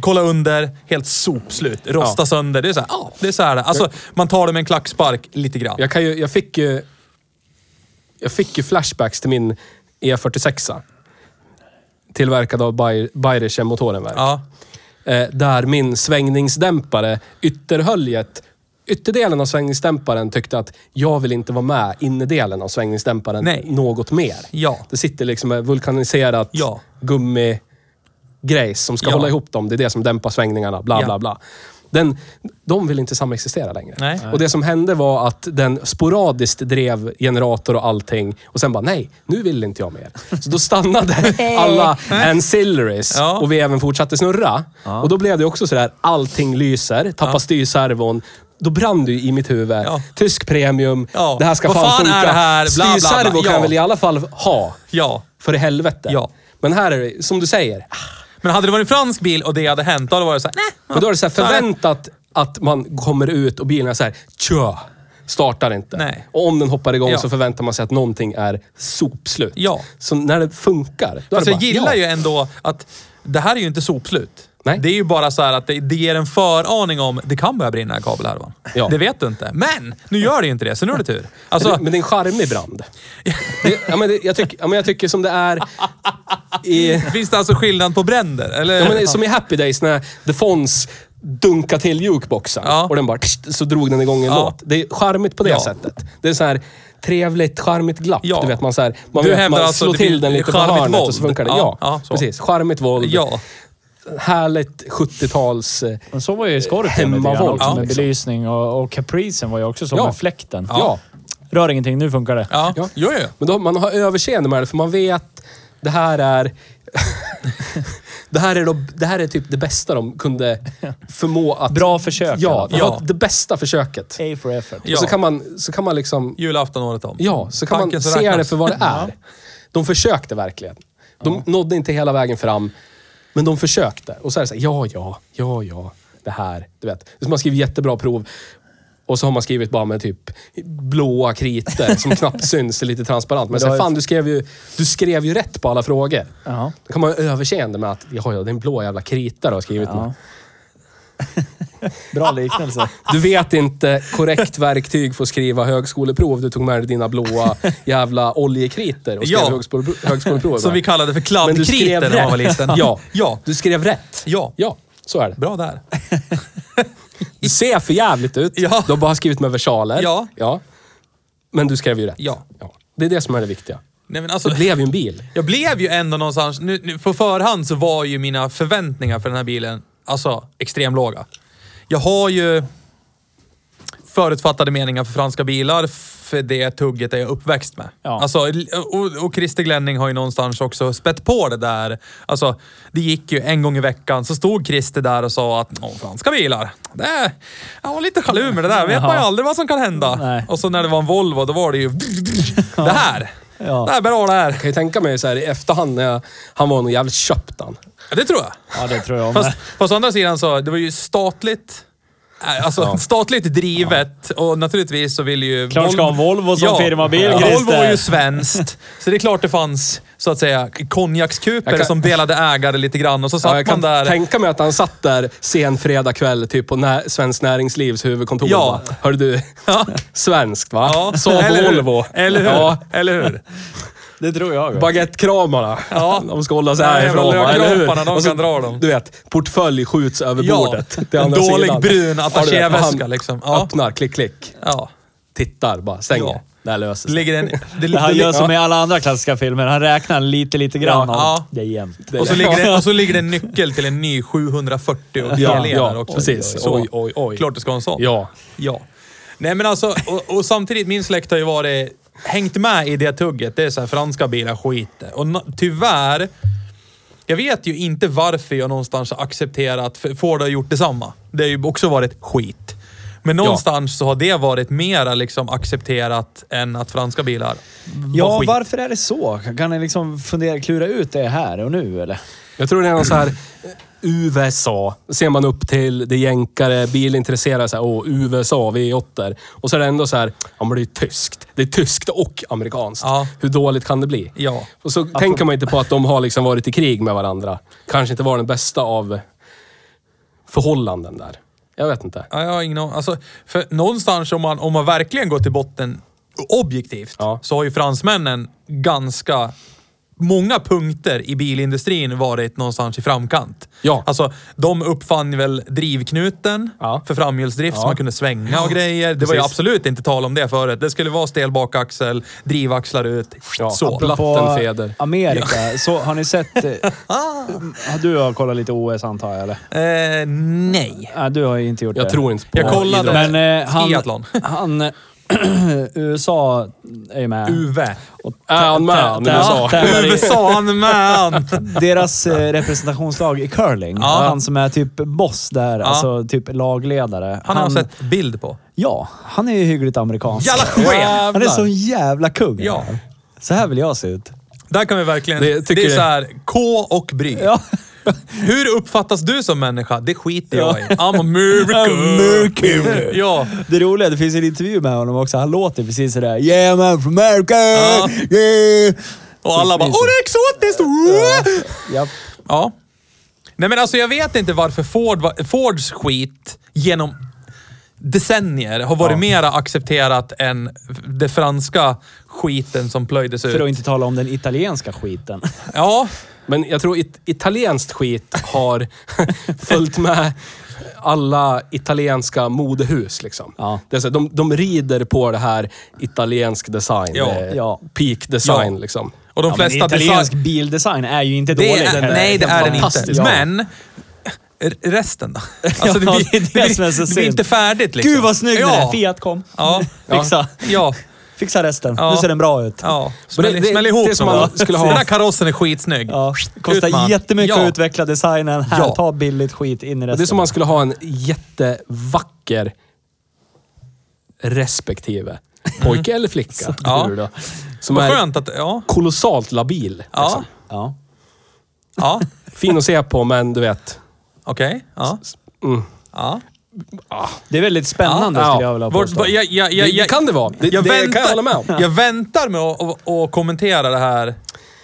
Kolla under, helt sopslut. Rosta Ja. sönder. Det är så här, ja, det är så här. Alltså, man tar det med en klackspark lite grann. jag, kan ju, jag, fick ju, jag fick ju flashbacks till min E46. Tillverkad av Bayer- Bayerische Motorenwerk. Ja. eh, där min svängningsdämpare, ytterhöljet, ytterdelen av svängningsdämparen tyckte att jag vill inte vara med innerdelen av svängningsdämparen Nej. något mer. Ja. Det sitter liksom ett vulkaniserat Ja. gummi grejs som ska Ja. hålla ihop dem. Det är det som dämpar svängningarna, bla Ja. bla bla. Den, de vill inte samexistera längre. Nej. Och det som hände var att den sporadiskt drev generator och allting. Och sen bara, nej, nu vill inte jag mer. Så då stannade alla ancillaries Ja. och vi även fortsatte snurra. Och då blev det också sådär, allting lyser, tappar styrservon. Då brann du i mitt huvud. Ja. Tysk premium, Ja. det här ska Vad fan, fan är funka. det här? Bla, bla, bla. Styrservo kan Ja. jag väl i alla fall ha. Ja. För i helvete. Ja. Men här är det, som du säger, Men hade det varit en fransk bil och det hade hänt, då hade det varit så här, nej. Men då är det så här Så är det. förväntat att man kommer ut och bilen är så här, tjö, startar inte. Nej. Och om den hoppar igång Ja. så förväntar man sig att någonting är sopslut. Ja. Så när det funkar, då är Fast det bara, jag gillar ja. ju ändå att det här är ju inte sopslut. Nej. Det är ju bara så här att det, det ger en föraning om det kan börja brinna i kabelhärvan. Ja. Det vet du inte. Men nu gör det ju inte det, så nu är det tur. Alltså, Men det är en charmig brand. det, ja, men det, jag, tycker, ja, men jag tycker som det är i... finns det alltså skillnad på bränder? Eller? Ja, men det är som i Happy Days när The Fonz dunkar till jukeboxen Ja. och den bara... Kst, så drog den igång en Ja. låt. Det är charmigt på det Ja. sättet. Det är så här trevligt, charmigt glapp. Ja. Du vet, man, så här, man, Du vet, hävdar man alltså slår det till blir den lite på charmigt hörnet och våld. så funkar det. Ja, Ja, ja, så. precis. Charmigt våld. Ja. Härligt 70-tals... eh, Men så var ju Scorpion lite grann Hemmavåld, också med liksom. belysning och, och Capricen var ju också så Ja. med fläkten. Ja. Rör ingenting, nu funkar det. Ja, Ja. ja. Jo, jo. Men då, man har överseende med det, för man vet det här är... det, här är de, det här är typ det bästa de kunde förmå att... Bra försök i Ja, alla fall. Eh, det, Ja. var det bästa försöket. A for effort. Ja. Och så kan, man, så kan man liksom... Julafton året om. Ja, så kan Tanken man som se räknas. det för vad det är. De försökte verkligen. De nådde inte hela vägen fram, men de försökte. Och så är det så här, ja, ja, ja, ja, det här, du vet. Så man skriver jättebra prov och så har man skrivit bara med typ blåa kriter som knappt syns, det är lite transparent. Men Men så det här, har ju- fan, du skrev, ju, du skrev ju rätt på alla frågor. Ja. Då kan man ha överseende med att, ja, ja, det är en blå jävla krita du har skrivit med. Ja. Bra liknelse. Du vet inte korrekt verktyg för att skriva högskoleprov. Du tog med dig dina blåa jävla oljekriter och skrev Ja. högskole, högskoleprov. Som vi kallade för kladdkriter när man var liten. Ja. ja. Du skrev rätt. Ja. Ja, så är det. Bra där. Du ser för jävligt ut. Ja. Du har bara skrivit med versaler. Ja. ja. Men du skrev ju rätt. Ja. Det är det som är det viktiga. Nej, men alltså, Det blev ju en bil. jag blev ju ändå någonstans... Nu, nu, på förhand så var ju mina förväntningar för den här bilen alltså extremlåga. Jag har ju... förutfattade meningar för franska bilar, för det tugget är jag uppväxt med. Ja. Alltså, och, och Christer Glenning har ju någonstans också spett på det där. Alltså, det gick ju en gång i veckan, så stod Christer där och sa att Åh, franska bilar, det är, jag var lite sjalu med det där, vet man ju Ja. aldrig vad som kan hända. Nej. Och så när det var en Volvo, då var det ju det här. Ja. Det här är bra det här. Jag kan ju tänka mig så här i efterhand när jag, han var nog jävligt köpt han. Ja, det tror jag. Ja, det tror jag med. Fast, fast å andra sidan så, det var ju statligt. äh, Alltså statligt drivet och naturligtvis så vill ju... Klart ska ha Volvo som firmabil, Christer. Volvo är ju svenskt. Så det är klart det fanns, så att säga, konjakskuper Jag kan- som delade ägare lite grann och så Ja, satt jag man kan där. tänka mig att han satt där sen fredag kväll typ på nä Svenskt Näringslivs huvudkontor. Ja. Ja. Hör du, Ja. svenskt va? Ja, Saab eller och hur? Volvo. Eller hur? Ja, Eller hur? Det tror jag. baguettekramarna. Ja. De ska hålla sig Ja, härifrån jävla va? Eller hur? lökropparna, de Och så, kan dra dem. Du vet, portfölj skjuts över Ja. bordet. till En andra dålig sidan. brun Ja, du vet, attachéväska, han liksom. Ja. Öppnar, klick, klick. Ja. Tittar bara, stänger. Ja. Det här löser sig. Ligger en, det, Det han det- gör som i alla andra klassiska filmer. Han räknar lite, lite grann. Ja. och- Ja. Det är jämnt. och, så ligger det, och så ligger det en nyckel till en ny 740 och Ja, GLE där ja också. precis. Så. Oj, oj, oj. Klart du ska ha en sån. Ja. Ja. Nej men alltså, och, och samtidigt, min släkt har ju varit, hängt med i det tugget. Det är så här, franska bilar skiter. Och na, tyvärr, jag vet ju inte varför jag någonstans har accepterat, för Ford har gjort detsamma. Det har ju också varit skit. Men någonstans så har det varit mera liksom accepterat än att franska bilar var Ja, skit. varför är det så? Kan ni liksom fundera, klura ut det här och nu eller? Jag tror det är någon så här eh, USA. ser man upp till, det är jänkare, bilintresserade. Så här, åh, USA, v 8 Och så är det ändå så här, ja men det är ju tyskt. Det är tyskt och amerikanskt. Ja. Hur dåligt kan det bli? Ja. Och så tänker man inte på att de har liksom varit i krig med varandra. Kanske inte var den bästa av förhållanden där. Jag vet inte. Ja, jag har ingen aning. Alltså, för någonstans om man, om man verkligen går till botten objektivt Ja. så har ju fransmännen ganska många punkter i bilindustrin varit någonstans i framkant. Ja. Alltså, de uppfann väl drivknuten Ja. för framhjulsdrift så Ja. man kunde svänga och grejer. Det var ju Precis. absolut inte tal om det förut. Det skulle vara stel bakaxel, drivaxlar ut, Ja, så. apropå- Plattenfeder. Amerika, så har ni sett... eh, har du har kollat lite OS antar jag eller? Eh, nej. Nej, du har ju inte gjort det. Jag tror inte på Jag kollade. idrott. Men eh, han... Skiathlon. han eh, USA är ju med. Uve. Är han med? Han Ja. USA. Tävlar i- USA, han med han. Deras eh, representationslag i curling, Ja. han som är typ boss där, alltså typ lagledare. Han har jag sett bild på. Ja, han är ju hyggligt amerikansk. Jävla chef! Han är sån jävla kung. Ja. Så här vill jag se ut. Där kan vi verkligen... Det Det, tycker är jag- så här, K och bry. Hur uppfattas du som människa? Det skiter jag i. I'm American. American. ja. Det roliga, det finns en intervju med honom också. Han låter precis sådär “Yeah man from America!” Ja. yeah. Och alla bara, åh det är exotiskt! Ja. Japp. ja. Nej men alltså jag vet inte varför Ford, var- Fords skit genom decennier har varit mera accepterat än det franska skiten som plöjdes För att ut. inte tala om den italienska skiten. Ja, Men jag tror it italienskt skit har följt med alla italienska modehus. Liksom. Ja. Det är så, de, de rider på det här italiensk design. Ja. eh, Ja. Peak design Ja. liksom. och de Ja, men flesta... italiensk design- bildesign är ju inte Det dålig. är, heller. nej, det är den inte. Fantastisk. Ja. Men r- resten då? Ja, Alltså, det, blir, det är det blir- som är så det blir synd. inte färdigt liksom. Gud vad snygg den ja. är! Fiat kom. Ja. Fixa. Ja. Fixa resten. Ja. Nu ser den bra ut. ja. Men det- Smäll, det- smäll det ihop är som dem, man va? skulle ha- Den här karossen är skitsnygg. Ja. Ut med Kostar den. jättemycket Ja. att utveckla designen. Här, Ja. ta billigt skit in i resten. Det är som man skulle ha en jättevacker respektive pojke eller flicka. Ja. hur Då, som Vad är skönt att... Ja. kolossalt labil. Ja. Liksom. Ja. Ja. Fin att se på, men du vet. Okej. Ja. mm. Ja. Det är väldigt spännande Ja. skulle jag vilja Vart, påstå. jag, jag, jag, Det- det jag, kan det vara. Det- det kan jag hålla med om. Jag väntar med att att- att kommentera det här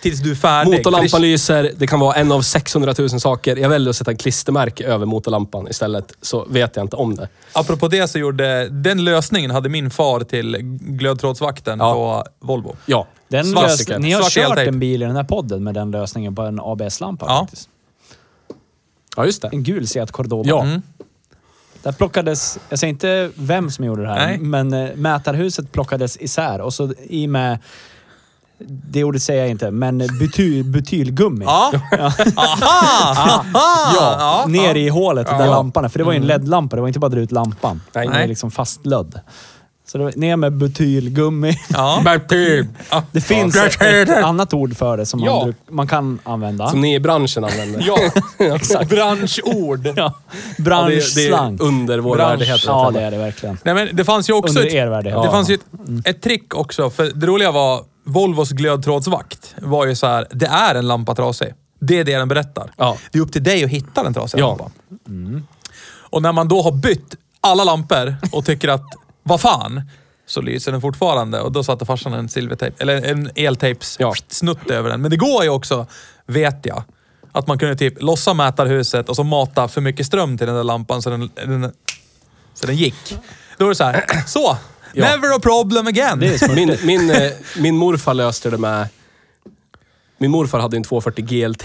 tills du är färdig. Motorlampan lyser, det kan vara en av 600 000 saker. Jag väljer att sätta en klistermärke över motorlampan istället, så vet jag inte om det. Apropå det så gjorde... Den lösningen hade min far till glödtrådsvakten Ja. på Volvo. Ja, Den svastika. lös- ni har Svart kört eltejp. en bil i den här podden med den lösningen på en ABS-lampa Ja. faktiskt. Ja, just det. Mm. En gul Seat Cordoba. Ja. Mm. Där plockades, jag säger inte vem som gjorde det här, Nej. men eh, mätarhuset plockades isär och så i med Det ordet säger jag inte, men butyl, butylgummi. Ah, Ja. Aha! Aha! Ja, ner i hålet där Ja. lampan är. För det var ju en LED-lampa, det var inte bara dra ut lampan. Mm. Nej. Den är liksom fastlödd. Så det var, ner med butylgummi. Ja. Bertil! Det finns Ja. ett, ett annat ord för det som Ja. man, bruk- man kan använda. Som ni i branschen använder. ja. Branschord. Ja. det, är- det Branschslang. är under vår Bransch. värdighet. ja, det är det verkligen. Nej, men det fanns ju också Under ett, er värld, ja. Mm. det fanns ju ett, ett trick också. För det roliga var, Volvos glödtrådsvakt var ju så här, det är en lampa trasig. Det är det den berättar. Ja. Det är upp till dig att hitta den trasiga Ja. lampan. Mm. Och när man då har bytt alla lampor och tycker att, vad fan, så lyser den fortfarande. Och då satte farsan en silvertejp, eller en eltejps Ja. snutt över den. Men det går ju också, vet jag, att man kunde typ lossa mätarhuset och så mata för mycket ström till den där lampan så den, den, så den gick. Då var det så här, så! Ja. Never a problem again! Min, min, eh, min morfar löste det med... Min morfar hade en 240 GLT.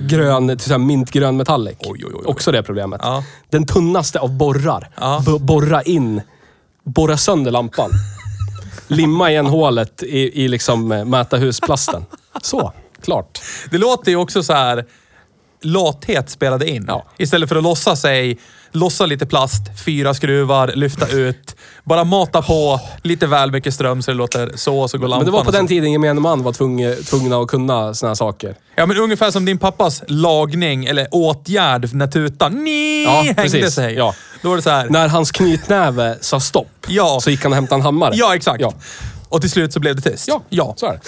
Grön, till så här mintgrön metallic. Oj, oj, oj. Också det problemet. Ja. Den tunnaste av borrar. Ja. Bo- Borra in. Borra sönder lampan. Limma igen hålet i, i liksom eh, mätarhusplasten. Så, klart. Det låter ju också så här lathet spelade in. Ja. Istället för att lossa sig, lossa lite plast, fyra skruvar, lyfta ut, bara mata på lite väl mycket ström så det låter så, så går lampan. Men det var på och så. den tiden gemene man var tvungen, tvungna att kunna såna här saker. Ja, men ungefär som din pappas lagning eller åtgärd när tutan ni Ja, hängde precis. sig. Ja. Då var det så här. När hans knytnäve sa stopp Ja. så gick han och hämtade en hammare. Ja, exakt. Ja, Och till slut så blev det tyst. ja, ja. så är det.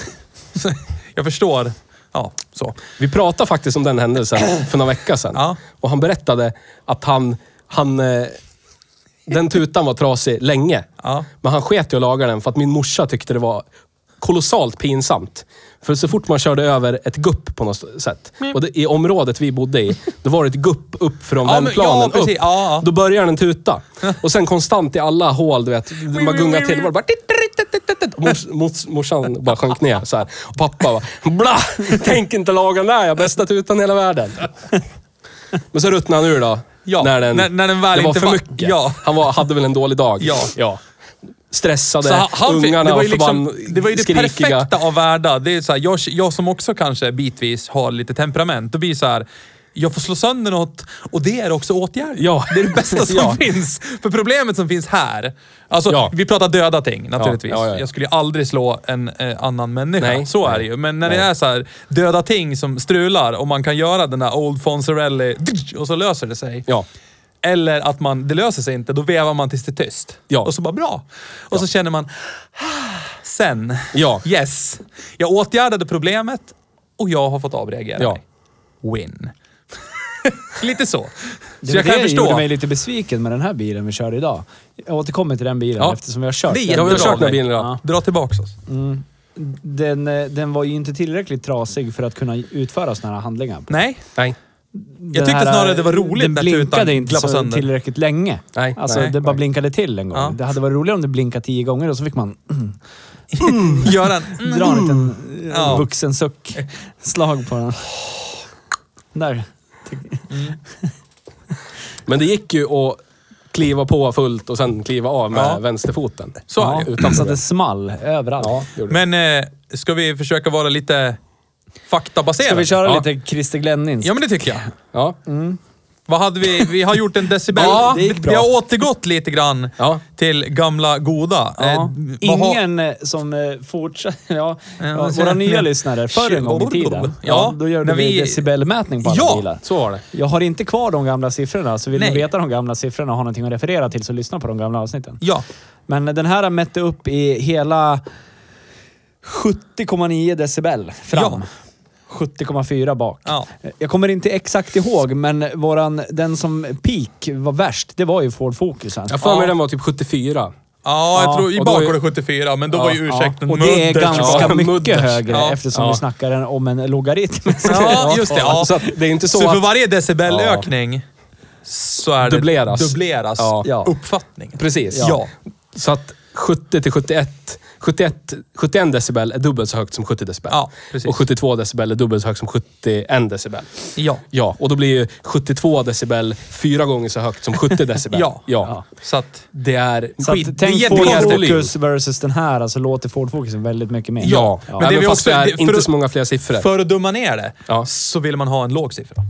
Jag förstår. Ja, så. Vi pratade faktiskt om den händelsen för några veckor sedan. Ja. Och han berättade att han, han... eh, Den tutan var trasig länge. Ja. Men han sket i att laga den för att min morsa tyckte det var kolossalt pinsamt. För så fort man körde över ett gupp på något sätt. Och det, I området vi bodde i, då var det ett gupp upp från Ja, men- vändplanen ja, precis. upp. Ja, ja. Då börjar den tuta. Och sen konstant i alla hål, du vet. Man gungar till. Var det bara... Och mors, mors, morsan bara sjönk ner så här. Och pappa bara... Bla! Tänk inte laga den där, jag har bästa tutan i hela världen. Men så ruttnade han ur då. Ja, när den, när- när den väl det var inte för var- mycket. Ja. Han var, hade väl en dålig dag. Ja. Stressade, Så han- han, fick- eh, ungarna det var ju, förbann- liksom, det var ju det skrikiga. perfekta av världar. Det är så här, jag, jag som också kanske bitvis har lite temperament, då blir det så här, jag får slå sönder något och det är också åtgärd. Ja. Det är det bästa som Ja. finns. För problemet som finns här, alltså Ja. vi pratar döda ting naturligtvis. Ja, ja, ja, ja. Jag skulle ju aldrig slå en eh, annan människa, Nej, så nej, är det ju. Men när det nej. är så här, döda ting som strular och man kan göra den där Old Fonzarelli och så löser det sig. Ja. Eller att man, det löser sig inte, då vevar man tills det är tyst. Ja. Och så bara bra. Och så känner man, "Ah, sen, Ja. yes. Jag åtgärdade problemet och jag har fått avreagera Ja. mig. Win. Lite så. Det Så jag jag kan det gjorde förstå. mig lite besviken med den här bilen vi körde idag. Jag återkommer till den bilen Ja. eftersom vi har kört Det är Ja, vi har jättebra. kört den här bilen idag. Ja. Dra tillbaka oss. den. eh, Den var ju inte tillräckligt trasig för att kunna utföra sådana här handlingar. på. Nej, Nej. jag tyckte snarare det var roligt Den när blinkade tutan inte glappade så sönder. tillräckligt länge. Nej, Alltså, nej, det bara nej. blinkade till en gång. Ja. Mm. Det hade varit roligare om det blinkade tio gånger och så fick man Göran, mm. dra en liten eh, Ja. vuxensuck. Slag på den. Där. Men det gick ju att kliva på fullt och sen kliva av med Ja. vänsterfoten. Så är det ju. Utan så att det problem. small överallt. Ja, det gjorde det. Men eh, ska vi försöka vara lite faktabaserade? Ska vi köra Ja. lite Christer Glenninsk? Ja, men det tycker jag. Ja. Mm. Vad hade vi? Vi har gjort en decibel... Ja, det gick vi- bra. Vi har återgått lite grann Ja. till gamla goda. Eh, Ja. vad har- Ingen eh, som eh, fortsätter... Ja, ja, men så- våra nya lyssnare, förr en gång i tiden, Ja, ja, då gjorde när vi, vi- decibelmätning på alla Ja! bilar. Så var det. Jag har inte kvar de gamla siffrorna, så vill Nej. ni veta de gamla siffrorna och ha någonting att referera till så lyssna på de gamla avsnitten. Ja. Men den här mätte upp i hela 70,9 decibel fram. Ja. 70,4 bak. Ja. Jag kommer inte exakt ihåg, men våran, den som peak var värst, det var ju Ford Focusen. Jag för mig Ja. den var typ 74. ja, jag Ja, tror i och då är- bakgården 74, men då var ju ursäkten Och det är mudders. ganska Ja, mycket mudders. högre Ja. eftersom Ja. vi snackar om en logaritm. Ja, just det. Ja. Så att det är inte så, Så för att... varje decibelökning så är det Dubbleras. dubbleras Ja. Ja. uppfattningen. Precis. Ja. Så att 70 till 71. 71 71 decibel är dubbelt så högt som 70 decibel. Ja, precis. Och 72 decibel är dubbelt så högt som 71 decibel. Ja. Ja, och då blir ju 72 decibel fyra gånger så högt som 70 decibel. Ja. ja. Så att... Det är... Så Skit- att, det är tänk Ford jättekonstigt. Focus versus den här, alltså låter Ford Focusen väldigt mycket mer. Ja, det men vi även fast också- det är det- för inte att- så många fler siffror. För att dumma ner det, Ja. så vill man ha en låg siffra.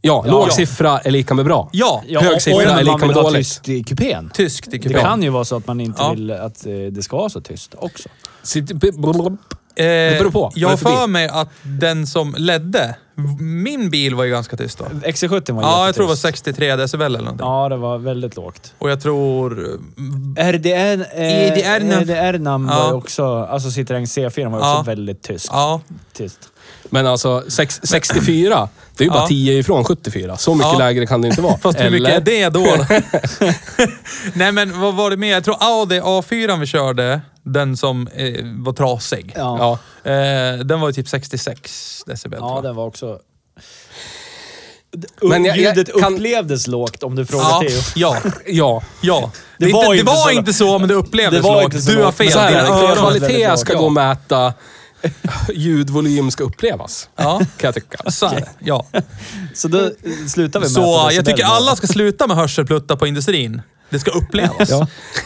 ja, låg Ja. siffra är lika med bra. Ja. Ja, Hög och- siffra och är man lika vill med ha dåligt. tyst i kupén. Tyskt i Det kupén. kan ju vara så att man inte Ja. vill att eh, det ska vara så tyst också. Sitt- b- blablabla. Eh, Det beror på. Jag har Vad är det för för bil? mig att den som ledde, min bil var ju ganska tyst då. XC70 var Ja, jag tror det var jättetyst. 63 decibel eller någonting. Ja, det var väldigt lågt. Och jag tror... RDR, eh, EDR-nam. EDR-nam var Ja. ju också, alltså Citroën C4 var ju Ja. också väldigt tyst. Ja, tyst. Men alltså, sex, 64, det är ju bara Ja. 10 ifrån 74. Så mycket Ja. lägre kan det inte vara. fast hur mycket Eller? är det då? Nej men vad var det mer? Jag tror Audi A4 vi körde, den som eh, var trasig. Ja. Ja. Eh, den var ju typ 66 decibel tror Ja, jag. den var också... Men Men jag- jag Ljudet kan- upplevdes lågt om du frågar Ja, Theo. ja, ja. ja. Det Det, var var, inte, inte det var så inte, så, men det upplevdes Det var lågt. inte så Du har lågt, men fel. Så här, Dina det- är det- det. öron- det- väldigt Kvalitet bra. ska gå att mäta. Ljudvolym ska upplevas. Ja, Kan jag tycka. så här, ja. Så då eh, slutar vi med Så jag tycker alla ska ska... sluta med hörselplutta på industrin. Det ska upplevas.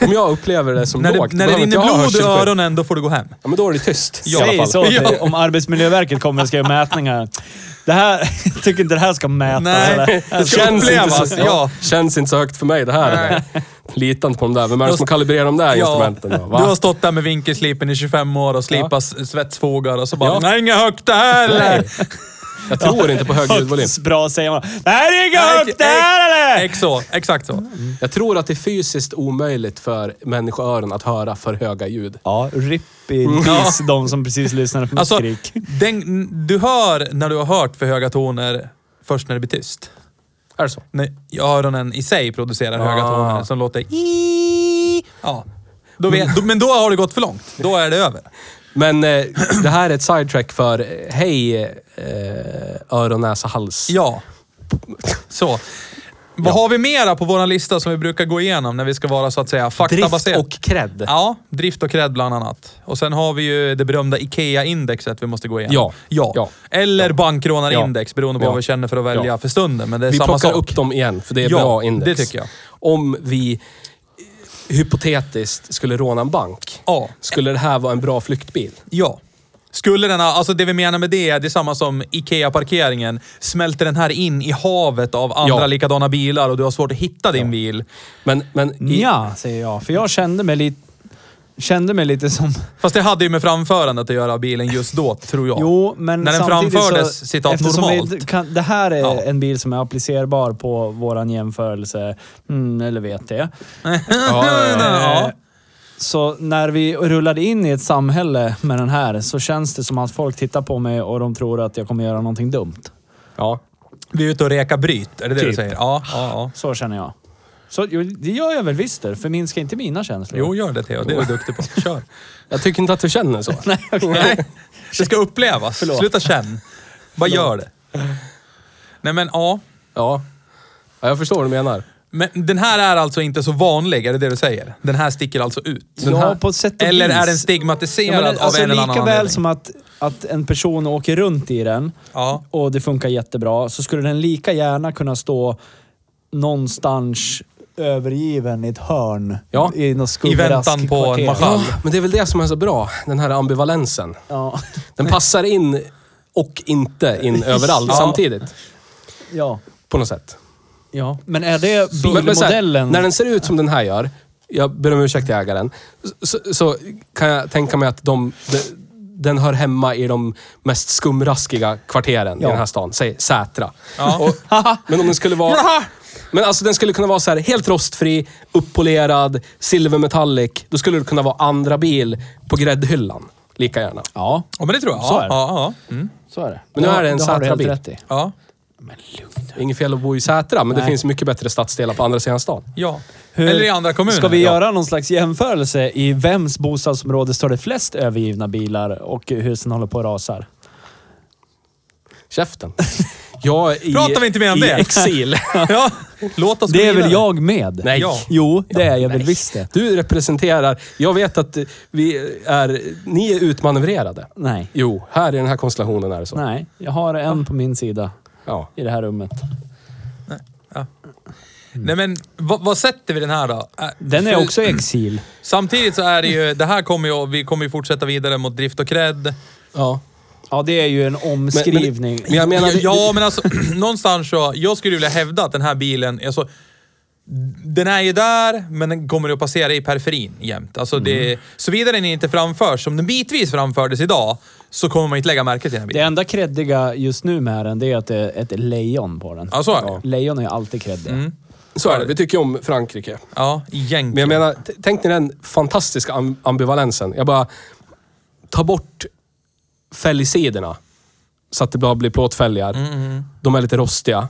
Om jag upplever det som När lågt, det, när då det behöver inte rinner jag ha blod ur hörselskydd. öronen, då får du gå hem. Ja, men då är det tyst i alla Säg fall. så Ja. till, om Arbetsmiljöverket kommer och ska göra mätningar. Det här, jag tycker inte det här ska mätas. Nej, eller? det ska upplevas. så, Ja. känns inte så högt för mig det här. Litar inte på de där. Vem är det som kalibrerar de där Ja, instrumenten du då? Va? har stått där med vinkelslipen i 25 år och slipat s- svetsfogar och så bara Ja. “Nej, inga högt det här eller?” Jag tror inte på hög ljudvolym. Högt, bra säger man. Det här är inget Nej, högt det här eller? Ex så, exakt så. Jag tror att det är fysiskt omöjligt för människoöron att höra för höga ljud. Ja, RIP i peace, de som precis lyssnade på mitt Alltså, skrik. den, du hör när du har hört för höga toner först när det blir tyst. Är det så? När öronen i sig producerar höga Ah. toner som låter i- Ja. Då vet, då, men då har det gått för långt. Då är det över. Men eh, det här är ett sidetrack för eh, hej eh, öron, näsa, hals. Ja. Så. Vad har vi mera på vår lista som vi brukar gå igenom när vi ska vara så att säga Drift faktabaserat? och cred. Ja, drift och cred bland annat. Och sen har vi ju det berömda IKEA-indexet vi måste gå igenom. Ja. ja. Ja. Eller bankrånarindex beroende på Ja. vad vi känner för att välja Ja. för stunden. Men det är Vi samma plockar sak. upp dem igen, för det är Ja, bra index. det tycker jag. Om vi eh, hypotetiskt skulle råna en bank, Ja. skulle det här vara en bra flyktbil? Ja. Skulle den ha, alltså det vi menar med det, det är samma som IKEA-parkeringen. Smälter den här in i havet av andra Ja. likadana bilar och du har svårt att hitta din bil. Men, Mm. men i, Ja, säger jag. För jag kände mig lite... Kände mig lite som... Fast det hade ju med framförandet att göra av bilen just då, tror jag. Jo, men När den samtidigt framfördes, så, citat, eftersom vi normalt. Kan, det här är Ja. en bil som är applicerbar på våran jämförelse, mm, eller vet det. ja, ja, eh, Ja. Så när vi rullade in i ett samhälle med den här så känns det som att folk tittar på mig och de tror att jag kommer göra någonting dumt. ja. Vi är ute och rekar bryt, är det det du Typ. säger? Ja, ja, ja. Så känner jag. Så jo, det gör jag väl visst det. Förminska inte mina känslor. Jo, gör det Theo. Det är du duktig på. Kör. Jag tycker inte att du känner så. Nej, det ska upplevas. Förlåt. Sluta känn. Bara gör det. Nej men ja. Ja. ja, jag förstår vad du menar. Men den här är alltså inte så vanlig, är det det du säger? Den här sticker alltså ut? Den ja, här- på ett sätt och Eller vis. är den Ja, stigmatiserad men det- alltså, av en eller annan Lika väl anledning? som att, att en person åker runt i den Ja. och det funkar jättebra, så skulle den lika gärna kunna stå någonstans övergiven i ett hörn. Ja. I, något I väntan skuggeraskigt på en kvarter. marschall. Men det är väl det som är så bra, den här ambivalensen. Ja. Den passar in och inte in överallt Ja. samtidigt. ja. På något sätt. Ja. Men är det Men- men så här, bilmodellen? när den ser ut som den här gör, jag ber om ursäkt till ägaren, så, så, så kan jag tänka mig att de, de, den hör hemma i de mest skumraskiga kvarteren i Ja. den här stan. Säg Sätra. Ja. Och, men om den skulle vara... Men alltså den skulle kunna vara så här helt rostfri, uppolerad, silvermetallic. Då skulle det kunna vara andra bil på gräddhyllan. Lika gärna. Ja, Ja, men det tror jag. Så är Ja, det. ja, ja. Mm. så är det. Men nu Ja, är det en då har du helt Sätra-bil. rätt i. ja. Det är inget fel att bo i Sätra, men det Nej. finns mycket bättre stadsdelar på andra sidan stan. ja. Hur- Eller i andra kommuner. Ska vi Ja. göra någon slags jämförelse i vems bostadsområde står det flest övergivna bilar och husen håller på att rasar? Käften. Jag i, Pratar vi inte mer om i det? exil. ja, låt oss gå Det är väl vidare. jag med? Nej. Ja. Jo, det är jag Nej. väl visst det. Du representerar... Jag vet att eh, vi är... Ni är utmanövrerade. Nej. Jo, här i den här konstellationen är det så. Nej, jag har en på min sida Ja. i det här rummet. Mm. Nej men, vad, vad sätter vi den här då? Äh, Den är för- också i exil. Samtidigt så är det ju, det här kommer ju, vi kommer ju fortsätta vidare mot drift och cred. ja. Ja, det är ju en omskrivning. Men jag menar... ja, men alltså någonstans så, jag skulle vilja hävda att den här bilen, alltså, den är ju där, men den kommer att passera i periferin jämt. Alltså Mm. det, såvida den inte framförs, som den bitvis framfördes idag, så kommer man inte lägga märke till den här Det bilen. enda kreddiga just nu med den, det är att det är ett lejon på den. Ja, så är det. Mm. Lejon är ju alltid kreddiga. Så är det. Vi tycker om Frankrike. Ja, Men jag egentligen. menar, t- tänk dig den fantastiska am- ambivalensen. Jag bara... Ta bort fälgsidorna. Så att det bara blir plåtfälgar. De är lite rostiga.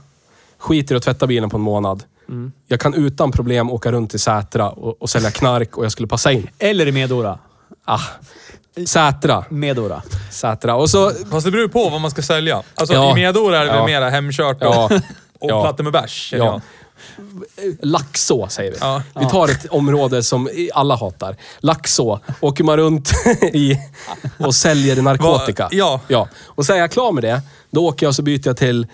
Skiter i att tvätta bilen på en månad. Mm. Jag kan utan problem åka runt i Sätra och, och sälja knark och jag skulle passa in. Eller i Medora. Ah. Sätra. Medora. Sätra. Och så... Fast det beror på vad man ska sälja. Alltså Ja. i Medor är det väl Ja. mera hemkört och, Ja. och Ja. plattor med bärs. känner jag. Ja. Laxå säger vi. Ja. Vi tar ett område som alla hatar. Laxå åker man runt i och säljer narkotika. Va- ja. ja. Och sen är jag klar med det, då åker jag och så byter jag till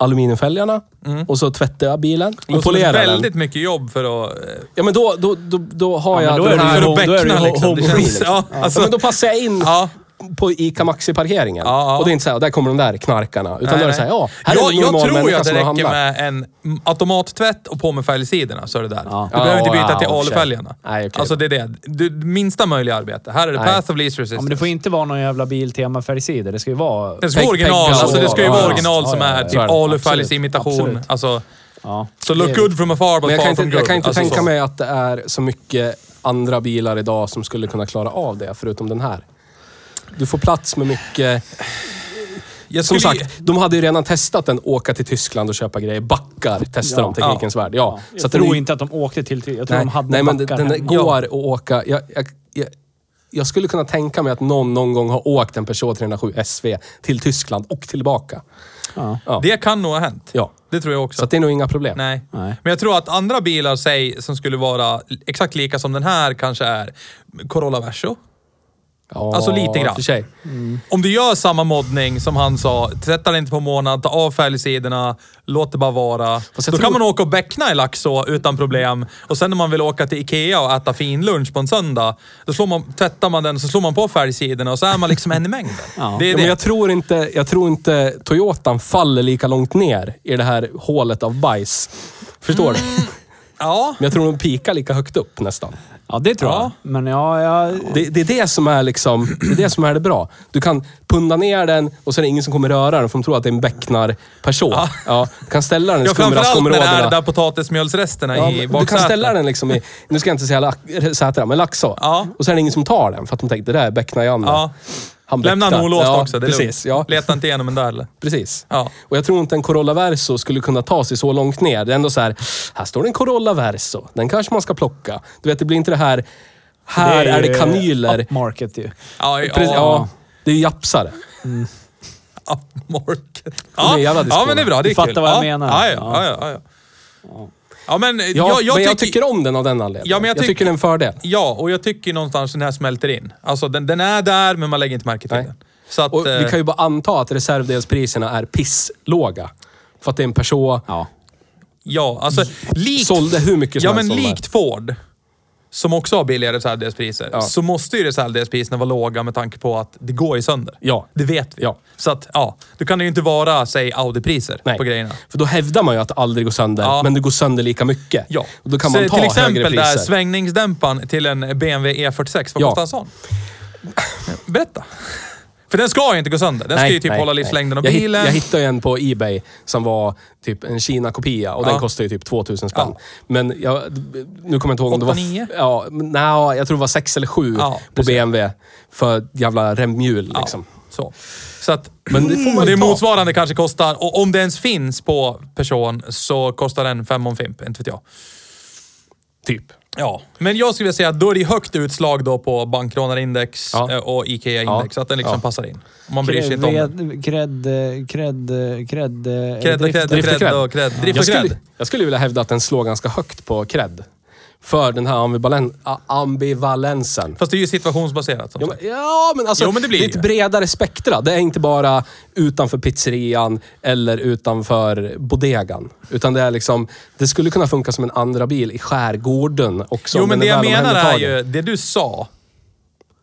aluminiumfälgarna och så tvättar jag bilen Det och Mm. låter som polerar den. väldigt mycket jobb för att... eh, Ja, men då, då, då, då har men jag då är den det här... ju För då att är det beckna ho- liksom. Det homofil, känns, ja, alltså, ja, men då passar jag in Ja. på Ica Maxi-parkeringen. Ja, ja. Och det är inte så här, där kommer de där knarkarna. Utan Nej, då är det nej. så här, ja, här jag, är en normal jag tror ju människa att det som har räcker handlat. med en mm, automattvätt och på med färgsidorna så är det där. Ja. Du behöver inte Ja, byta till ja, i och för sig. alufälgarna. Nej, okej. Alltså det är det. Du, minsta möjliga arbete. Här är det Nej. path of least resistance. Ja, men det får inte vara någon jävla biltema-färgsidor. Det ska ju vara... det ska vara Peg- original, pegga alltså det ska ju och- vara ja, original ja, som ja, är ja, typ så är det. alufälgs Absolut. imitation. Absolut. Alltså, Ja. så look good from afar but Men jag far kan from good. inte, jag kan inte alltså, tänka så. mig att det är så mycket andra bilar idag som skulle kunna klara av det, förutom den här. Du får plats med mycket... Jag Som skulle, sagt, de hade ju redan testat den åka till Tyskland och köpa grejer. Backar testar Ja. de, Teknikens Värld. Ja. Jag Så att den tror är- inte att de åkte till... Jag tror Nej, de hade nej men den, backar den hemma. går att åka... Jag, jag, jag, jag skulle kunna tänka mig att någon någon gång har åkt en Peugeot 307 SV till Tyskland och tillbaka. Ja. Ja. Det kan nog ha hänt. Ja. Det tror jag också. Så att det är nog inga problem. Nej. Nej. Men jag tror att andra bilar säg, som skulle vara exakt lika som den här kanske är Corolla Verso. Ja, Alltså lite grann. För sig. Mm. Om du gör samma moddning som han sa, tvättar det inte på månad, ta av färgsidorna, låt det bara vara. Då jag kan tror- man åka och bäckna i Laxå utan problem. Och sen när man vill åka till Ikea och äta finlunch på en söndag, då slår man, tvättar man den så slår man på färgsidorna och så är man liksom en i mängden. Ja. Det är Ja, det. men jag tror, inte, jag tror inte Toyotan faller lika långt ner i det här hålet av bajs. Förstår Mm. du? Ja. Men jag tror de pikar lika högt upp nästan. Ja, det tror Ja. jag. Men ja, jag... Det, det är det som är liksom, det är det som är det bra. Du kan punda ner den och så är det ingen som kommer röra den för de tror att det är en becknarperson. Ja. du kan ställa den i Ja, framförallt när det är skumraskområdena. där potatismjölsresterna Ja, i men du kan baksätet. ställa den liksom i, nu ska jag inte säga lax- Sätra, men Laxå. Ja. Och så är det ingen som tar den för att de tänkte, det där är becknar-Janne. Ja. Han Lämna den becknar. olåst ja, också, det är precis, lugnt. ja, Leta inte igenom den där eller? precis. Ja. Och jag tror inte en Corolla Verso skulle kunna ta sig så långt ner. Det är ändå så här, här står det en Corolla Verso. Den kanske man ska plocka. Du vet, det blir inte det här, här är, ju det kanyler. Upmarket ju. Ja, ja. Precis, ja, det är ju japsare. Upmarket. är Ja, en jävla ja diskussion. men det är bra. Det är Du fattar kul. vad jag ja. menar. Ja, ja, ja. ja, ja. ja men, Ja, jag, jag, men jag tycker... tycker om den av den anledningen. Ja, men jag jag, tyck- tycker den är en fördel. Ja, och jag tycker någonstans den här smälter in. Alltså den, den är där, men man lägger inte märke till Nej. den. Så att... Och vi eh, kan ju bara anta att reservdelspriserna är pisslåga. För att det är en person Ja. Ja, alltså likt... Mm. sålde hur mycket som Ja, men helst av de här. likt Ford, som också har billiga reservdelspriser, Ja. så måste ju reservdelspriserna vara låga med tanke på att det går ju sönder. Ja. Det vet vi. Ja. Så att, ja. Då kan det ju inte vara, säg, Audi-priser Nej. på grejerna. För då hävdar man ju att det aldrig går sönder, Ja. men det går sönder lika mycket. Ja. Och då kan så man ta till högre exempel priser. där svängningsdämparen till en BMW E46, E vad Ja. kostar en sån? Berätta. För den ska ju inte gå sönder. Den ska ju typ hålla livslängden av jag hitt- bilen. jag hittade ju en på Ebay som var typ en Kina-kopia och Ja. den kostade ju typ 2000 spänn. Ja. Men jag, nu kommer jag inte ihåg om det var... Åtta, nio? Ja, men, nej, jag tror det var sex eller sju Ja, på precis. BMW. För jävla remhjul Ja, liksom. Så. Så att, Men det får man ju ta. motsvarande kanske kostar, och om det ens finns på person, så kostar den fem om fimp, inte vet jag. Typ. Ja, men jag skulle vilja säga att då är det högt utslag då på bankrånarindex Ja. eh, och IKEA-index. Ja. Att den liksom Ja. passar in. Om man bryr sig inte om den. Cred... Cred... Cred... Cred och cred och Drift och cred cred. och cred. Drift Jag och skulle, cred. jag skulle vilja hävda att den slår ganska högt på cred. För den här ambivalen, a- ambivalensen. Fast det är ju situationsbaserat. Som Ja, sagt. men, ja, men alltså Jo, men det blir är ett ju. bredare spektra. Det är inte bara utanför pizzerian eller utanför bodegan. Utan det är liksom, det skulle kunna funka som en andra bil i skärgården också. Jo, om men det den jag väl menar är omhändertagen. ju det du sa.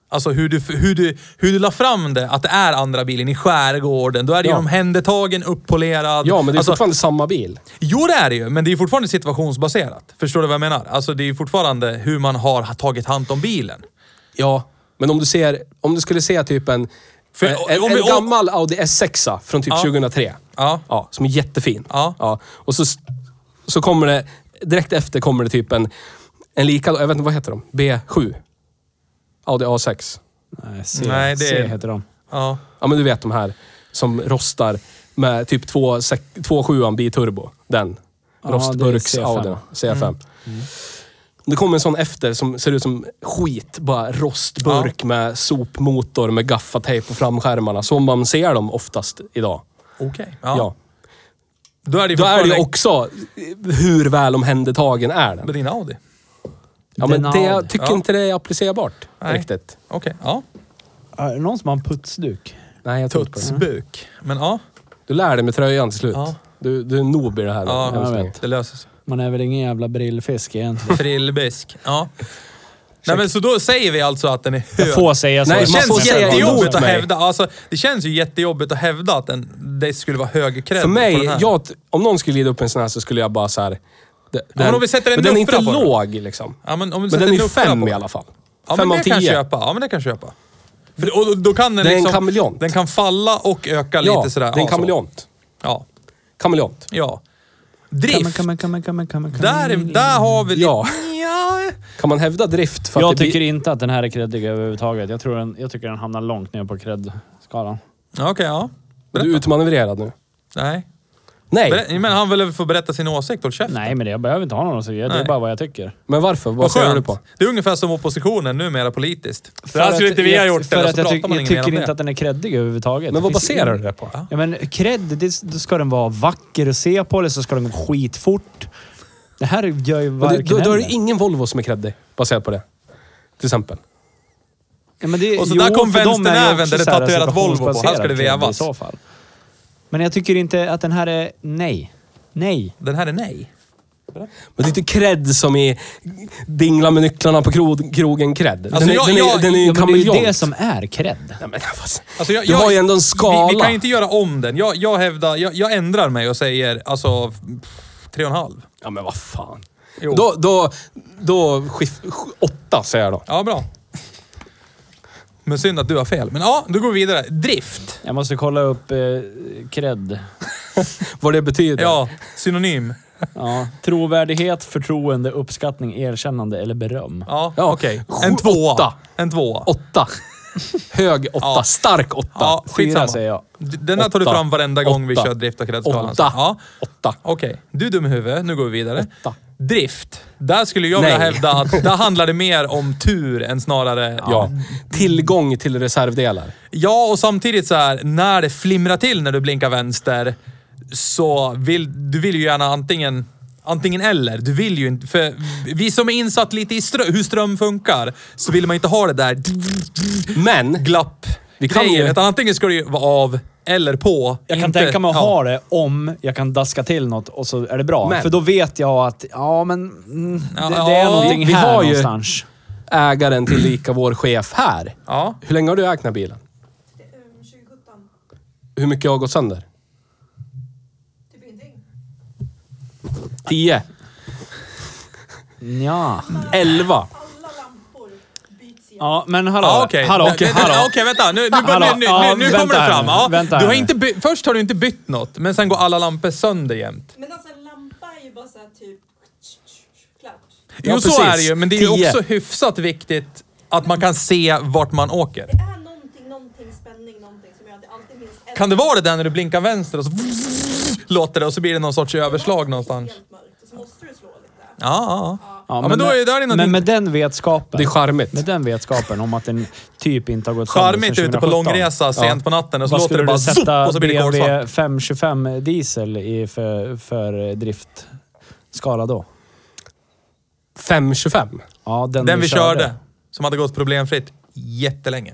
Alltså hur du, hur, du, hur du la fram det, att det är andra bilen i skärgården. Då är det Ja. ju omhändertagen, uppolerad. Ja, men det är alltså, fortfarande samma bil. Jo, det är det ju, men det är fortfarande situationsbaserat. Förstår du vad jag menar? Alltså det är ju fortfarande hur man har tagit hand om bilen. Ja, men om du ser, om du skulle se typ en, För- en, en, om vi- om- gammal Audi S6 a från typ Ja. 2003. Ja. ja. Som är jättefin. Ja. Och så, så kommer det, direkt efter kommer det typ en, en likadan, jag vet inte vad heter de? B7? Audi A6. Nej, C, Nej, det är- C heter de. Ja. Ja men du vet de här som rostar med typ 2,7an biturbo. Den. Ja, Rostburks det är Mm. C5. Audi C5. Mm. Det kommer en sån efter som ser ut som skit. Bara rostburk med sopmotor med gaffatejp på framskärmarna. Som man ser dem oftast idag. Okej. Ja. Ja. Då är det ju Då är det ju fortfarande- också hur väl omhändertagen är med den. din Audi. Ja, men Den det, Audi. jag tycker Ja. inte det är applicerbart Nej. riktigt. Okej, ja. Är det någon som har en putsduk? Nej, jag tror inte på det. Tutsbuk. Men ja, Du lär dig med tröjan till slut. Ja. Du, du är noob i det här. ja, än så jag länge. vet. det löser sig. Man är väl ingen jävla brillfisk egentligen. Frillbisk. Ja. Nej, men så då säger vi alltså att den är hög. Jag får säga så. Nej, det man får känns säga jättejobbigt emot att mig. hävda. Alltså, det känns ju jättejobbigt att hävda att den, det skulle vara hög cred För på mig, den här. jag, om någon skulle glida upp en sån här så skulle jag bara så här. Det, men om vi sätter en men den är nuffra inte på den. låg liksom. Ja, men om du men sätter den är nuffra på fem i den. alla fall. Ja, fem men av det kan jag tio. köpa. Ja, men det kan jag köpa. För, och då- då kan den Det är en liksom, kameleont. Den kan falla och öka Ja, lite sådär. det är en Ja, så. kameleont. Ja. Kameleont. ja. Drift. Come, come, come, come, come, come. Där, är- där har vi... Ja. ja. Kan man hävda drift? För Jag att det tycker blir, inte att den här är creddig överhuvudtaget. Jag, tror den, jag tycker den hamnar långt ner på cred-skalan. Okej, ja. Du är utmanövrerad nu. Nej. Nej, Berä- Men han vill få berätta sin åsikt, håll käften. Nej, men det, jag behöver inte ha någon åsikt. Det är Nej. bara vad jag tycker. men varför? Vad Vad ser du skönt. på? Det är ungefär som oppositionen numera politiskt. För det här skulle att- inte vi ha gjort För eller att så jag, pratar tyck- man jag inget tycker mer om inte det. att den är creddig överhuvudtaget. Men Det vad finns baserar ingen- du det på? Ja men cred, det, då ska den vara vacker att se på eller så ska den gå skitfort. Det här gör ju Men det, varken då, då är det eller. ingen Volvo som är creddig baserat på det. Till exempel. Ja, men det, Och så där kom för dem är ju vänsternäven också där det så här tatuerat Volvo på. Här situationsbaserad ska det cred vevas. I så fall. Men jag tycker inte att den här är... Nej. Nej. Den här är nej. Men det är inte cred som i dingla med nycklarna på krog, krogen cred. Den, Alltså, är- jag- den, är- jag- den är ju Ja, en men det är ju kameleont. det som är cred. Nej, men vad- Alltså, jag- Du jag- har ju ändå en skala. Vi, vi kan inte göra om den. Jag, jag hävdar, jag, jag ändrar mig och säger alltså pff, tre och en halv. Ja, men vad fan. Jo. Då, då, då skif, sk- åtta säger jag då. Ja, bra. Men synd att du har fel. Men ja, då går vi vidare. Drift. Jag måste kolla upp eh, cred. Vad det betyder. Ja, synonym. Ja. Trovärdighet, förtroende, uppskattning, erkännande eller beröm. Ja, Ja, okej. sju- En tvåa. åtta. En tvåa. Åtta. Hög åtta. Ja. Stark åtta. Ja, skitsamma. Fyra säger jag. D- Den här tar du Åtta. fram varenda gång vi Åtta. kör drift och kredskalan. Åtta. Ja. Åtta. Okej, du är dum i huvudet. Nu går vi vidare. Åtta. Drift. Där skulle jag vilja Nej. hävda att där handlar det mer om tur än snarare... Ja. Tillgång till reservdelar. Ja, och samtidigt så här, när det flimrar till när du blinkar vänster så vill du vill ju gärna antingen Antingen eller. Du vill ju inte... För vi som är insatt lite i strö, hur ström funkar så vill man inte ha det där Men, glapp Vi kan ju- Utan antingen ska det ju vara av eller på. Jag kan inte- tänka mig att ja. ha det om jag kan daska till något och så är det bra. Men- För då vet jag att, ja men... Mm, Ja, det, det är ja, någonting vi- vi här har ju- någonstans. ägaren till lika vår chef här. Ja. Hur länge har du ägt den här bilen? Um, 2017. Hur mycket har gått sönder? Typ ingenting. Tio. Ja. Elva. Alla lampor byts igen. ja, men hallå. Ja, okej. Hallå, okej, Nej, nej, hallå. nej, Okej, vänta. Nu, nu, bör- Hallå, nu, nu, ja, nu, nu vänta kommer det här fram. nu, Ja, du vänta här har nu. inte by- först har du inte bytt något, men sen går alla lampor sönder jämt. Men alltså en lampa är ju bara såhär typ klart. Jo, Ja, så precis. är det ju, men det är ju Tio. också hyfsat viktigt att man kan se vart man åker. Det är någonting, någonting, spänning, någonting som gör att det alltid minns en. Kan det vara det där när du blinkar vänster och så låter det och så blir det någon sorts överslag någonstans? Helt mörkt och så måste du slå lite. Ja, ja, ja. Ja. Ja, men då är ju där inne Men din- med den vetskapen. Det är charmigt. Med den vetskapen om att den typ inte har gått sönder Charmigt sedan ute på 2017. långresa sent på natten och så Vad låter skulle det bara du zoop sätta och så blir det kolsvart. BMW 525 diesel i för, för eh, driftskala då? 525. Ja, den, Den vi körde, som hade gått problemfritt jättelänge.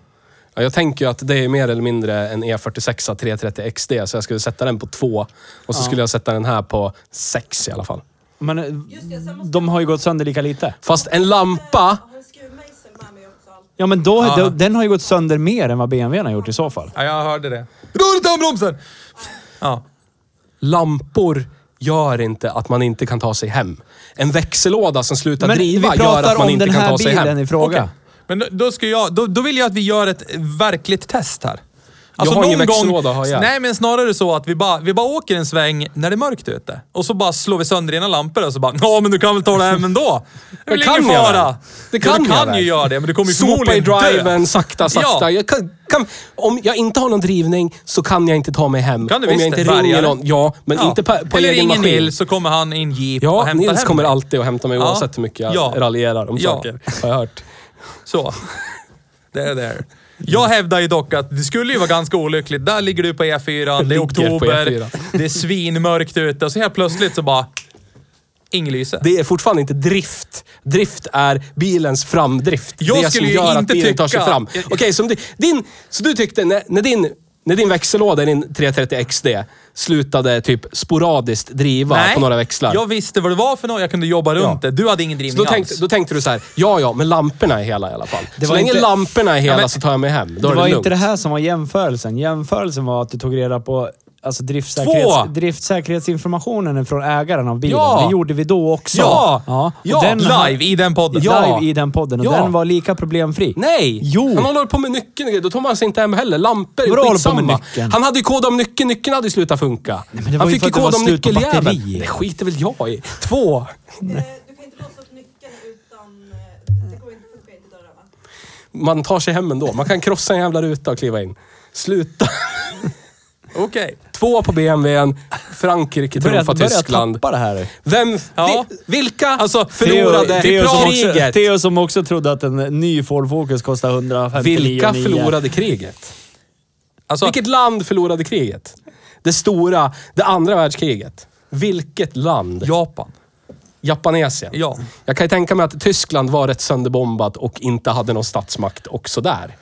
Ja, jag tänker ju att det är mer eller mindre en E E46 330 XD, så jag skulle sätta den på två och så skulle jag sätta den här på sex i alla fall. Men eh, Just det, sen måste de har ju gått sönder lika lite. Fast en lampa... jag ha en skruvmejsel med mig också. alltid. Ja, men då, Ja. då, den har ju gått sönder mer än vad BMWn har gjort i så fall. Ja, jag hörde det. Rör inte handbromsen! Ja. Lampor gör inte att man inte kan ta sig hem. En växellåda som slutar Men vi driva gör att pratar man om inte den kan här ta sig bilen hem. i fråga. Okej. Men då, då, ska jag, då, då vill jag att vi gör ett verkligt test här. Alltså, har ingen växellåda, har jag. Nej, men snarare så att vi bara, vi bara åker en sväng när det är mörkt ute. Och så bara slår vi sönder ena lampor och så bara ja men du kan väl ta det hem ändå. Det är väl kan ingen jag fara. väl? Det ja, kan du jag kan väl? ju göra det, men du kommer ju Sopa i förmodligen dö. driven, sakta, sakta. Ja. Jag kan, kan, om jag inte har någon drivning så kan jag inte ta mig hem. Kan du om visst jag inte det, ringer bärgare. någon. Ja, men Ja. inte på, på Eller egen ringer maskin. Nils så kommer han i en jeep och Ja, hämtar Nils hem kommer dig. alltid och hämtar mig Ja. oavsett hur mycket jag Ja. raljerar om Ja. saker. Har jag hört. Så. Där, där. Jag hävdar ju dock att det skulle ju vara ganska olyckligt. Där ligger du på E4, det Ligger är på E oktober, E4. det är svinmörkt ute och så helt plötsligt så bara... Inget lyse. Det är fortfarande inte drift. Drift är bilens framdrift. Jag det skulle som ju gör att inte bilen tar sig tycka- fram. Okej, som di- din, så du tyckte när, när din... När din växellåda, din 330 XD, slutade typ sporadiskt driva på några växlar. jag visste vad det var för något. Jag kunde jobba runt det. Du hade ingen Så drivning då, tänkte, alls. då tänkte du så här, ja ja, men lamporna är hela i alla fall. Det så var länge inte- lamporna är hela Ja, men- så tar jag mig hem. Då Det är det var lugnt. inte det här som var jämförelsen. Jämförelsen var att du tog reda på alltså driftsäkerhets, Två! driftsäkerhetsinformationen från ägaren av bilen. Ja! Det gjorde vi då också. Ja! ja. Ja, Och den Live i den podden. Ja. live i den podden och Ja. den var lika problemfri. Nej! Jo. Han håller på med nyckeln och grejer. Då tar man sig inte hem heller. Lampor Vadå håller är på med skitsamma. nyckeln? Han hade ju kod om nyckeln. Nyckeln hade ju slutat funka. men det var han ju fick för ju att det kod var om slut på nyckeljäveln. batteri. Det skiter väl jag i. Två. Eh, Du kan inte låsa upp nyckeln utan... eh, Det går inte att funka in till dörrar va? Man tar sig hem ändå. Man kan krossa en jävla ruta och kliva in. Sluta. Okej. Två på BMWn. Frankrike Börjar, trumfar börjar Tyskland. tappa det här. Vem... Ja. Vi, vilka alltså, Theo- förlorade Theo som också- kriget? Theo som också trodde att en ny Ford Focus kostar 159 Vilka 9. förlorade kriget? Alltså, Vilket land förlorade kriget? Det stora, det andra världskriget. Vilket land? Japan. Japanesien. Ja. Jag kan ju tänka mig att Tyskland var rätt sönderbombat och inte hade någon statsmakt också där.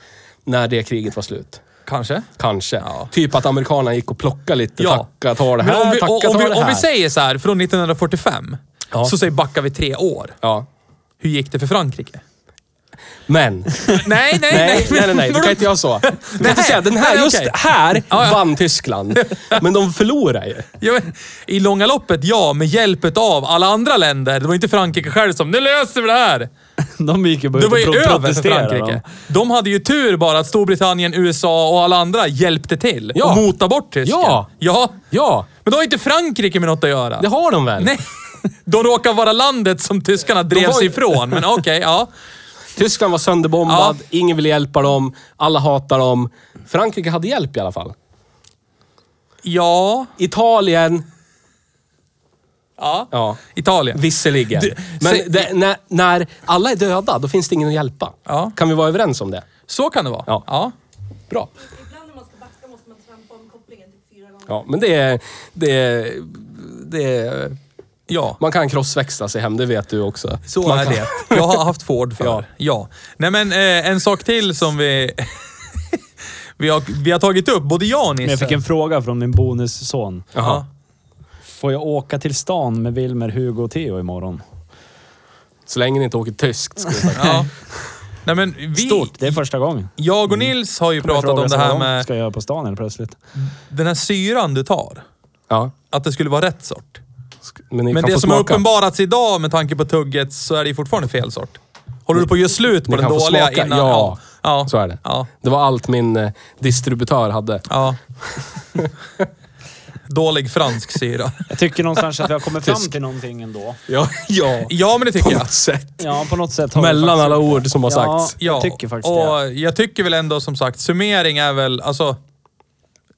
När det kriget var slut. Kanske. Kanske. Ja. Typ att amerikanerna gick och plockade lite. Ja. Tacka, ta det här, Men om vi, tacka, om, ta vi, det om här. vi säger så här, från 1945. Ja. Så säger backar vi tre år. Ja. Hur gick det för Frankrike? Men. Nej, nej, Nej, nej. nej, nej, nej. Du kan inte göra så. Du kan inte Nej. säga, den här, Nej, just okej. här Ja, ja. vann Tyskland. Men de förlorar ju. Ja, men, I långa loppet, ja, med hjälpet av alla andra länder. Det var inte Frankrike själv som “Nu löser vi det här!” De gick ju bara Det ut var och ju pro- över för protesterade. Frankrike. De hade ju tur bara att Storbritannien, USA och alla andra hjälpte till Ja. och mota bort tysken. Ja. ja! Ja, Men då har ju inte Frankrike med något att göra. det har de väl? Nej. De råkar vara landet som tyskarna drevs var ju- ifrån, men okej, ja. Tyskland var sönderbombad, Ja. ingen ville hjälpa dem, alla hatar dem. Frankrike hade hjälp i alla fall. Ja, Italien, ja. ja, Italien. visserligen. Du, Men säg- det, när, när alla är döda, då finns det ingen att hjälpa. Ja. Kan vi vara överens om det? Så kan det vara. Ja. ja. Bra. I- Ibland när man ska backa måste man trampa om kopplingen typ fyra gånger. Ja, men det är... Det är, det är Ja. man kan krossväxla sig hem, det vet du också. Så man är kan, det. Jag har haft Ford för. Ja. Ja. Nej men eh, en sak till som vi... vi, har, vi har tagit upp, både jag och Men jag Nisse. fick en fråga från min bonusson. Jaha. Får jag åka till stan med Wilmer, Hugo och Theo imorgon? Så länge ni inte åker tyskt. skulle jag säga. Ja. Nej men vi... Stort. Det är första gången. Mm. Jag och Nils har ju Kommer pratat fråga om det sig här vad de med ska göra på stan helt plötsligt. den här syran du tar. Ja. Att det skulle vara rätt sort. Men, ni Men kan det få som har smaka. uppenbarats idag med tanke på tugget så är det ju fortfarande fel sort. Håller du på att göra slut på Ni den kan få dåliga smaka. innan? Ja. ja. Så är det. Ja. Det var allt min eh, distributör hade. ja. Dålig fransk syra. Jag tycker någonstans att vi har kommit fram Tysk. till någonting ändå. Ja, ja. Ja, men det tycker På jag. något sätt. Ja, på något sätt har vi Mellan faktiskt- alla ord som har Ja. sagts. Jag tycker faktiskt och det. jag tycker väl ändå som sagt, summering är väl alltså...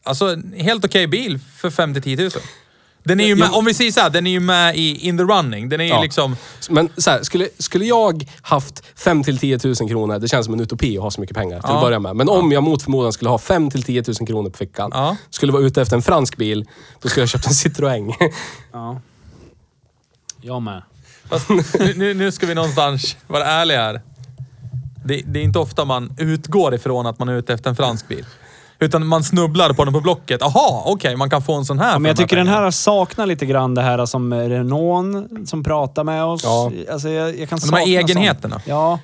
Alltså, en helt okej bil för 5 till 10 000. Den är ju med, Jag- om vi säger såhär, den är ju med i In the running. Den är ju Ja. liksom... Men så här, skulle, skulle jag haft 5 till 10 000 kronor, det känns som en utopi att ha så mycket pengar till Ja. att börja med. Men om jag mot förmodan skulle ha 5 till 10 000 kronor på fickan, Ja. skulle vara ute efter en fransk bil, då skulle jag köpt en Citroën. Ja. Jag med. Fast nu, nu, nu ska vi någonstans vara ärliga här. Det, det är inte ofta man utgår ifrån att man är ute efter en fransk bil. Utan man snubblar på den på Blocket. Aha, okej, man kan få en sån här. Ja, för men jag de här tycker den pengarna. här saknar lite grann det här som Renault som pratar med oss. Ja. Alltså jag, jag kan De här sakna egenheterna. sånt. Ja.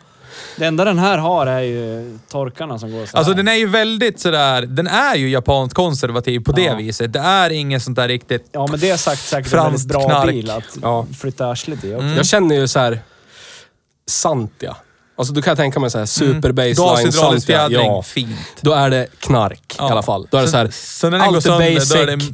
Det enda den här har är ju torkarna som går sådär. Alltså den är ju väldigt sådär, den är ju japanskt konservativ på det viset. Det är inget sånt där riktigt... Ja, men det är sagt säkert en väldigt Franskt bra knark. bil att Ja. Mm. flytta arslet i också. Mm. Jag känner ju så här, Santia. Alltså då kan jag tänka mig så här, super baseline Gashydraulisk Santia. Mm. fjädring, Ja. fint. Då är det knark Ja. i alla fall. Då är det så här, så när den går allt är sönder, basic. då är det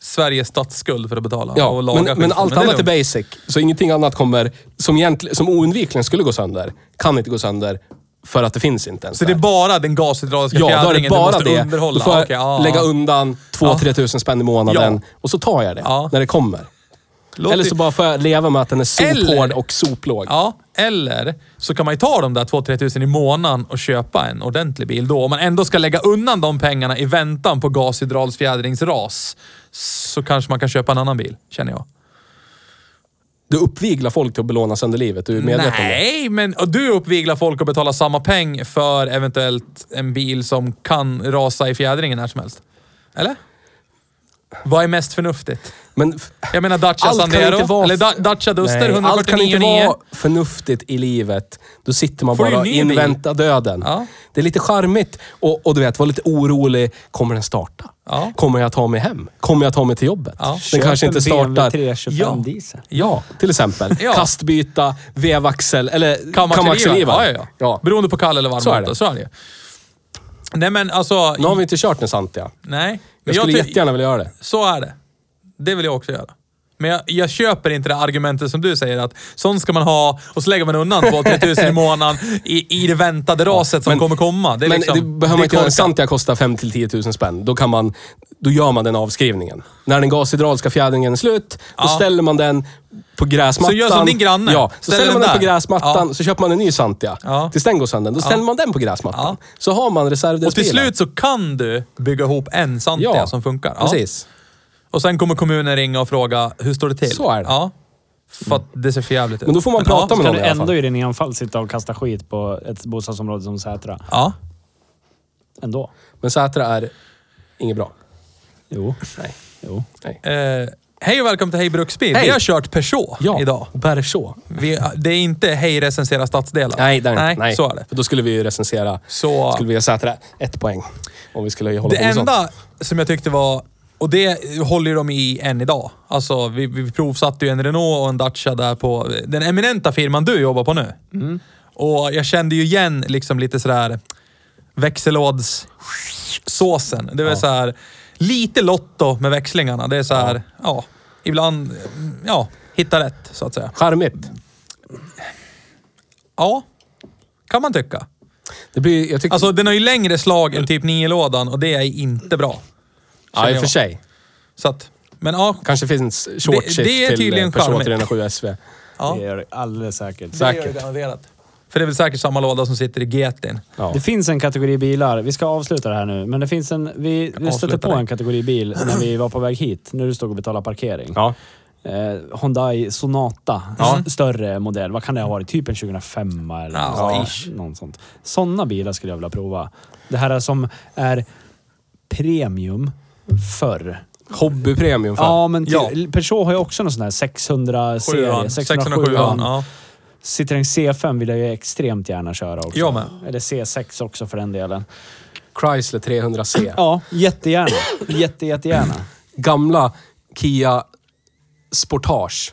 Sveriges statsskuld för att betala. Ja, och laga men, men skiten. allt det annat är lugnt. basic. Så ingenting annat kommer, som, egentli- som oundvikligen skulle gå sönder, kan inte gå sönder för att det finns inte ens Så det är där. bara den gashydrauliska Ja, då är det fjädringen bara du måste det. underhålla? Då får jag Okej, ja, lägga ja. undan 2-3 tusen spänn i månaden och så tar jag det Ja. när det kommer. Låt Eller det- så bara får jag leva med att den är sophård Eller- och soplåg. Ja, eller så kan man ju ta de där 2-3 tusen i månaden och köpa en ordentlig bil då. Om man ändå ska lägga undan de pengarna i väntan på gashydralsfjädringsras så kanske man kan köpa en annan bil, känner jag. Du uppviglar folk till att belåna sönder livet. Du är medveten om det. Nej, men och du uppviglar folk att betala samma peng för eventuellt en bil som kan rasa i fjädringen när som helst. Eller? Vad är mest förnuftigt? Men f- Jag menar Dacia Allt kan Sandero, inte vara- eller da, Dacia Duster nej, allt kan inte 149 vara förnuftigt i livet. Då sitter man Får du bara och en ny bil? inväntar döden. Ja. Det är lite charmigt och, och du vet, vara lite orolig. Kommer den starta? Ja. Kommer jag ta mig hem? Kommer jag ta mig till jobbet? Ja. Den Köp kanske en inte BMW startar. 325 Ja. diesel. Ja, till exempel. Ja. Kastbyta, vevaxel eller Kamaxeliva. kamaxeliva. Ja, ja, ja. Beroende på kall eller varm Så är motor, det. så är det ju. Nej men alltså... Nu har vi inte kört den Santia. Nej. Men Jag skulle ty- jättegärna vilja göra det. Så är det. Det vill jag också göra. Men jag, jag köper inte det argumentet som du säger att sånt ska man ha och så lägger man undan 2-3 tusen i månaden i, i det väntade raset som men- kommer komma. Det är Men liksom, det behöver man inte är göra. En korkat. Santia kostar 5 till 10 000 spänn. Då, kan man, då gör man den avskrivningen. När den gashydrauliska fjädringen är slut, då Ja. ställer man den på gräsmattan. Så gör som din granne. Ja, så Ställer ställer man den den på där. gräsmattan, Ja. så köper man en ny Santia. Ja. Tills den går sönder. Då ställer man den på gräsmattan. Ja. Så har man Och till reservdelsbilen. slut så kan du bygga ihop en Santia Ja, som funkar. Ja. Precis. Och sen kommer kommunen ringa och fråga, hur står det till? Så är det. Mm. Ja. För att det ser för jävligt ut. Men då får man prata ja, med Ska någon du i alla ändå fall. i din enfall sitta och kasta skit på ett bostadsområde som Sätra? Ja. Ändå. Men Sätra är inget bra. Jo. Nej. Jo. Eh, hej och välkommen till Hej Bruksbil. Vi har kört Peugeot Ja, idag. Berchå. Vi, det är inte Hej recensera stadsdelar. Nej, det är det Nej, inte. Nej, så är det. För då skulle vi ju recensera... Så- Skulle vi ge Sätra ett poäng. Om vi skulle hålla Det på med sånt. enda som jag tyckte var, och det håller ju de i än idag. Alltså, vi, vi provsatte ju en Renault och en Dacia där på den eminenta firman du jobbar på nu. Och jag kände ju igen liksom lite sådär växellådssåsen. Det var så såhär, lite lotto med växlingarna. Det är såhär, ja. ja, ibland, ja, hitta rätt så att säga. Charmigt. Ja, kan man tycka. Det blir, jag tycker, Alltså den har ju längre slag än typ 9-lådan och det är inte bra. ja, i och jag. för sig. Så att, men ja, Kanske finns short Det- shift det är till eh, tydligen Peugeot charmigt. 307 SV. ja. Det gör det alldeles säkert. Säkert. garanterat. För det är väl säkert samma låda som sitter i GT'n. Ja. Det finns en kategori bilar. Vi ska avsluta det här nu, men det finns en... Vi, vi stötte Avsluta det. på en kategori bil när vi var på väg hit, när du stod och betalade parkering. Ja. Eh, Hyundai Sonata, s- större modell. Vad kan det ha varit? Typ en 2005 eller Ja, något ish. sånt. någon sånt. Sådana bilar skulle jag vilja prova. Det här är som är premium förr. Hobbypremium för. Ja, men till, Ja. Peugeot har ju också någon sån här 600 serie. 607 607 ja. Citroën C5 vill jag ju extremt gärna köra också. Jag med. Eller C6 också för den delen. Chrysler 300C. Ja, jättegärna. Jätte, jättegärna. Gamla Kia Sportage.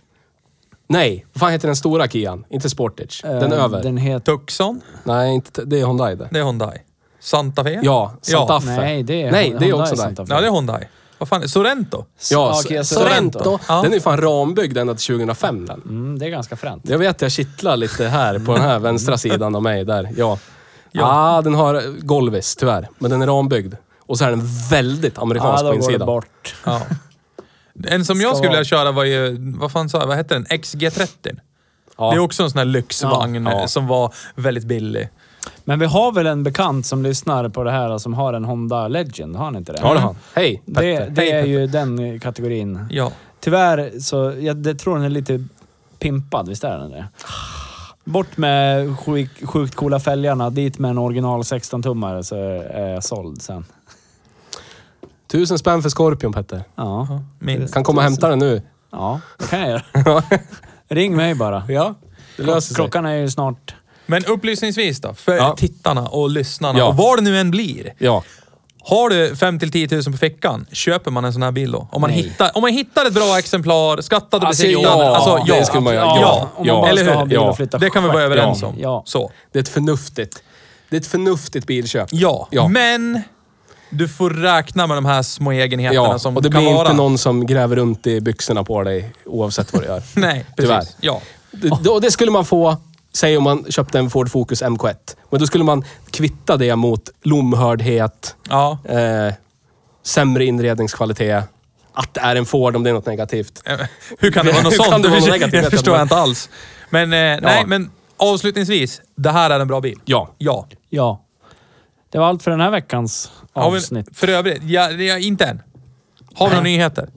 Nej, vad fan heter den stora Kian? Inte Sportage. Den Eh, över. Den heter... Tucson, Nej, inte, det är Hyundai det. det är Hyundai. Santa Fe? Ja, Santa Fe. Nej, det är, Nej, det är Hyundai också Santa där. Fe. Ja, det är Hyundai. Vad fan, är det? Sorento? Ja, Ja, Kia S- Sorento. Sorento. Ja. Den är ju fan rambyggd ända till 2005 den. Mm, det är ganska fränt. Jag vet, jag kittlar lite här på den här vänstra sidan av mig där. Ja. Ja, ah, den har golvis tyvärr. Men den är rambyggd. Och så är den väldigt amerikansk Ja, på då går det insidan. bort. Ja. En som jag Ska skulle vara- vilja köra var ju, vad fan sa jag, vad hette den? XG30. Ja. Det är också en sån här lyxvagn Ja. Ja. som var väldigt billig. Men vi har väl en bekant som lyssnar på det här som har en Honda Legend, har han inte det? Ja, det har han. Hej, Det, Petter. det Hej, är Petter. ju den kategorin. Ja. Tyvärr så, jag det tror den är lite pimpad, visst är den det? Bort med sjuk, sjukt coola fälgarna, dit med en original 16-tummare så är jag såld sen. Tusen spänn för Scorpion, Petter. Ja, Minst. Kan komma och hämta den nu. ja det kan jag göra. Ring mig bara. Ja, det löser sig. Klockan är ju snart... Men upplysningsvis då, för Ja. tittarna och lyssnarna Ja. och vad det nu än blir. Ja. Har du 5 till 10 000 på fickan, köper man en sån här bil då? Om man, hittar, om man hittar ett bra exemplar, skattad och Alltså, besiktad. ja, alltså, ja. det skulle man göra. Ja, om man bara eller ska hur? ha bil Ja, och flytta Det kan vi vara skärp. överens Ja. om. Ja. Så. Det är ett förnuftigt. Det är ett förnuftigt bilköp. Ja. Ja. men du får räkna med de här små egenheterna Ja, som och det kan blir vara. inte någon som gräver runt i byxorna på dig oavsett vad du gör. Nej, precis. Tyvärr. Ja. Det, och det skulle man få, säg om man köpte en Ford Focus MK1. Men då skulle man kvitta det mot lomhördhet, Ja. eh, sämre inredningskvalitet, att det är en Ford om det är något negativt. Eh, Hur kan det vara något Hur kan sånt? det vara något negativt? Jag förstår Men- inte alls. Men eh, nej, men avslutningsvis. Det här är en bra bil. Ja. Ja. Ja. Det var allt för den här veckans Har vi- avsnitt. För övrigt, ja, det är inte än. Har vi några nyheter?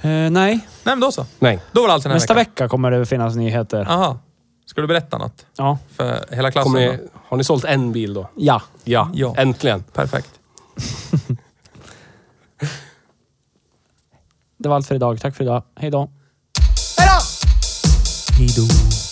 Eh, nej, Nej, men då så. Nej. Då var det allt den här nästa veckan. vecka kommer det finnas nyheter. Aha. Ska du berätta något Ja. för hela klassen? Kommer ni, då? har ni sålt en bil då? Ja. Ja, Ja. äntligen. Perfekt. Det var allt för idag. Tack för idag. Hej då. Hejdå!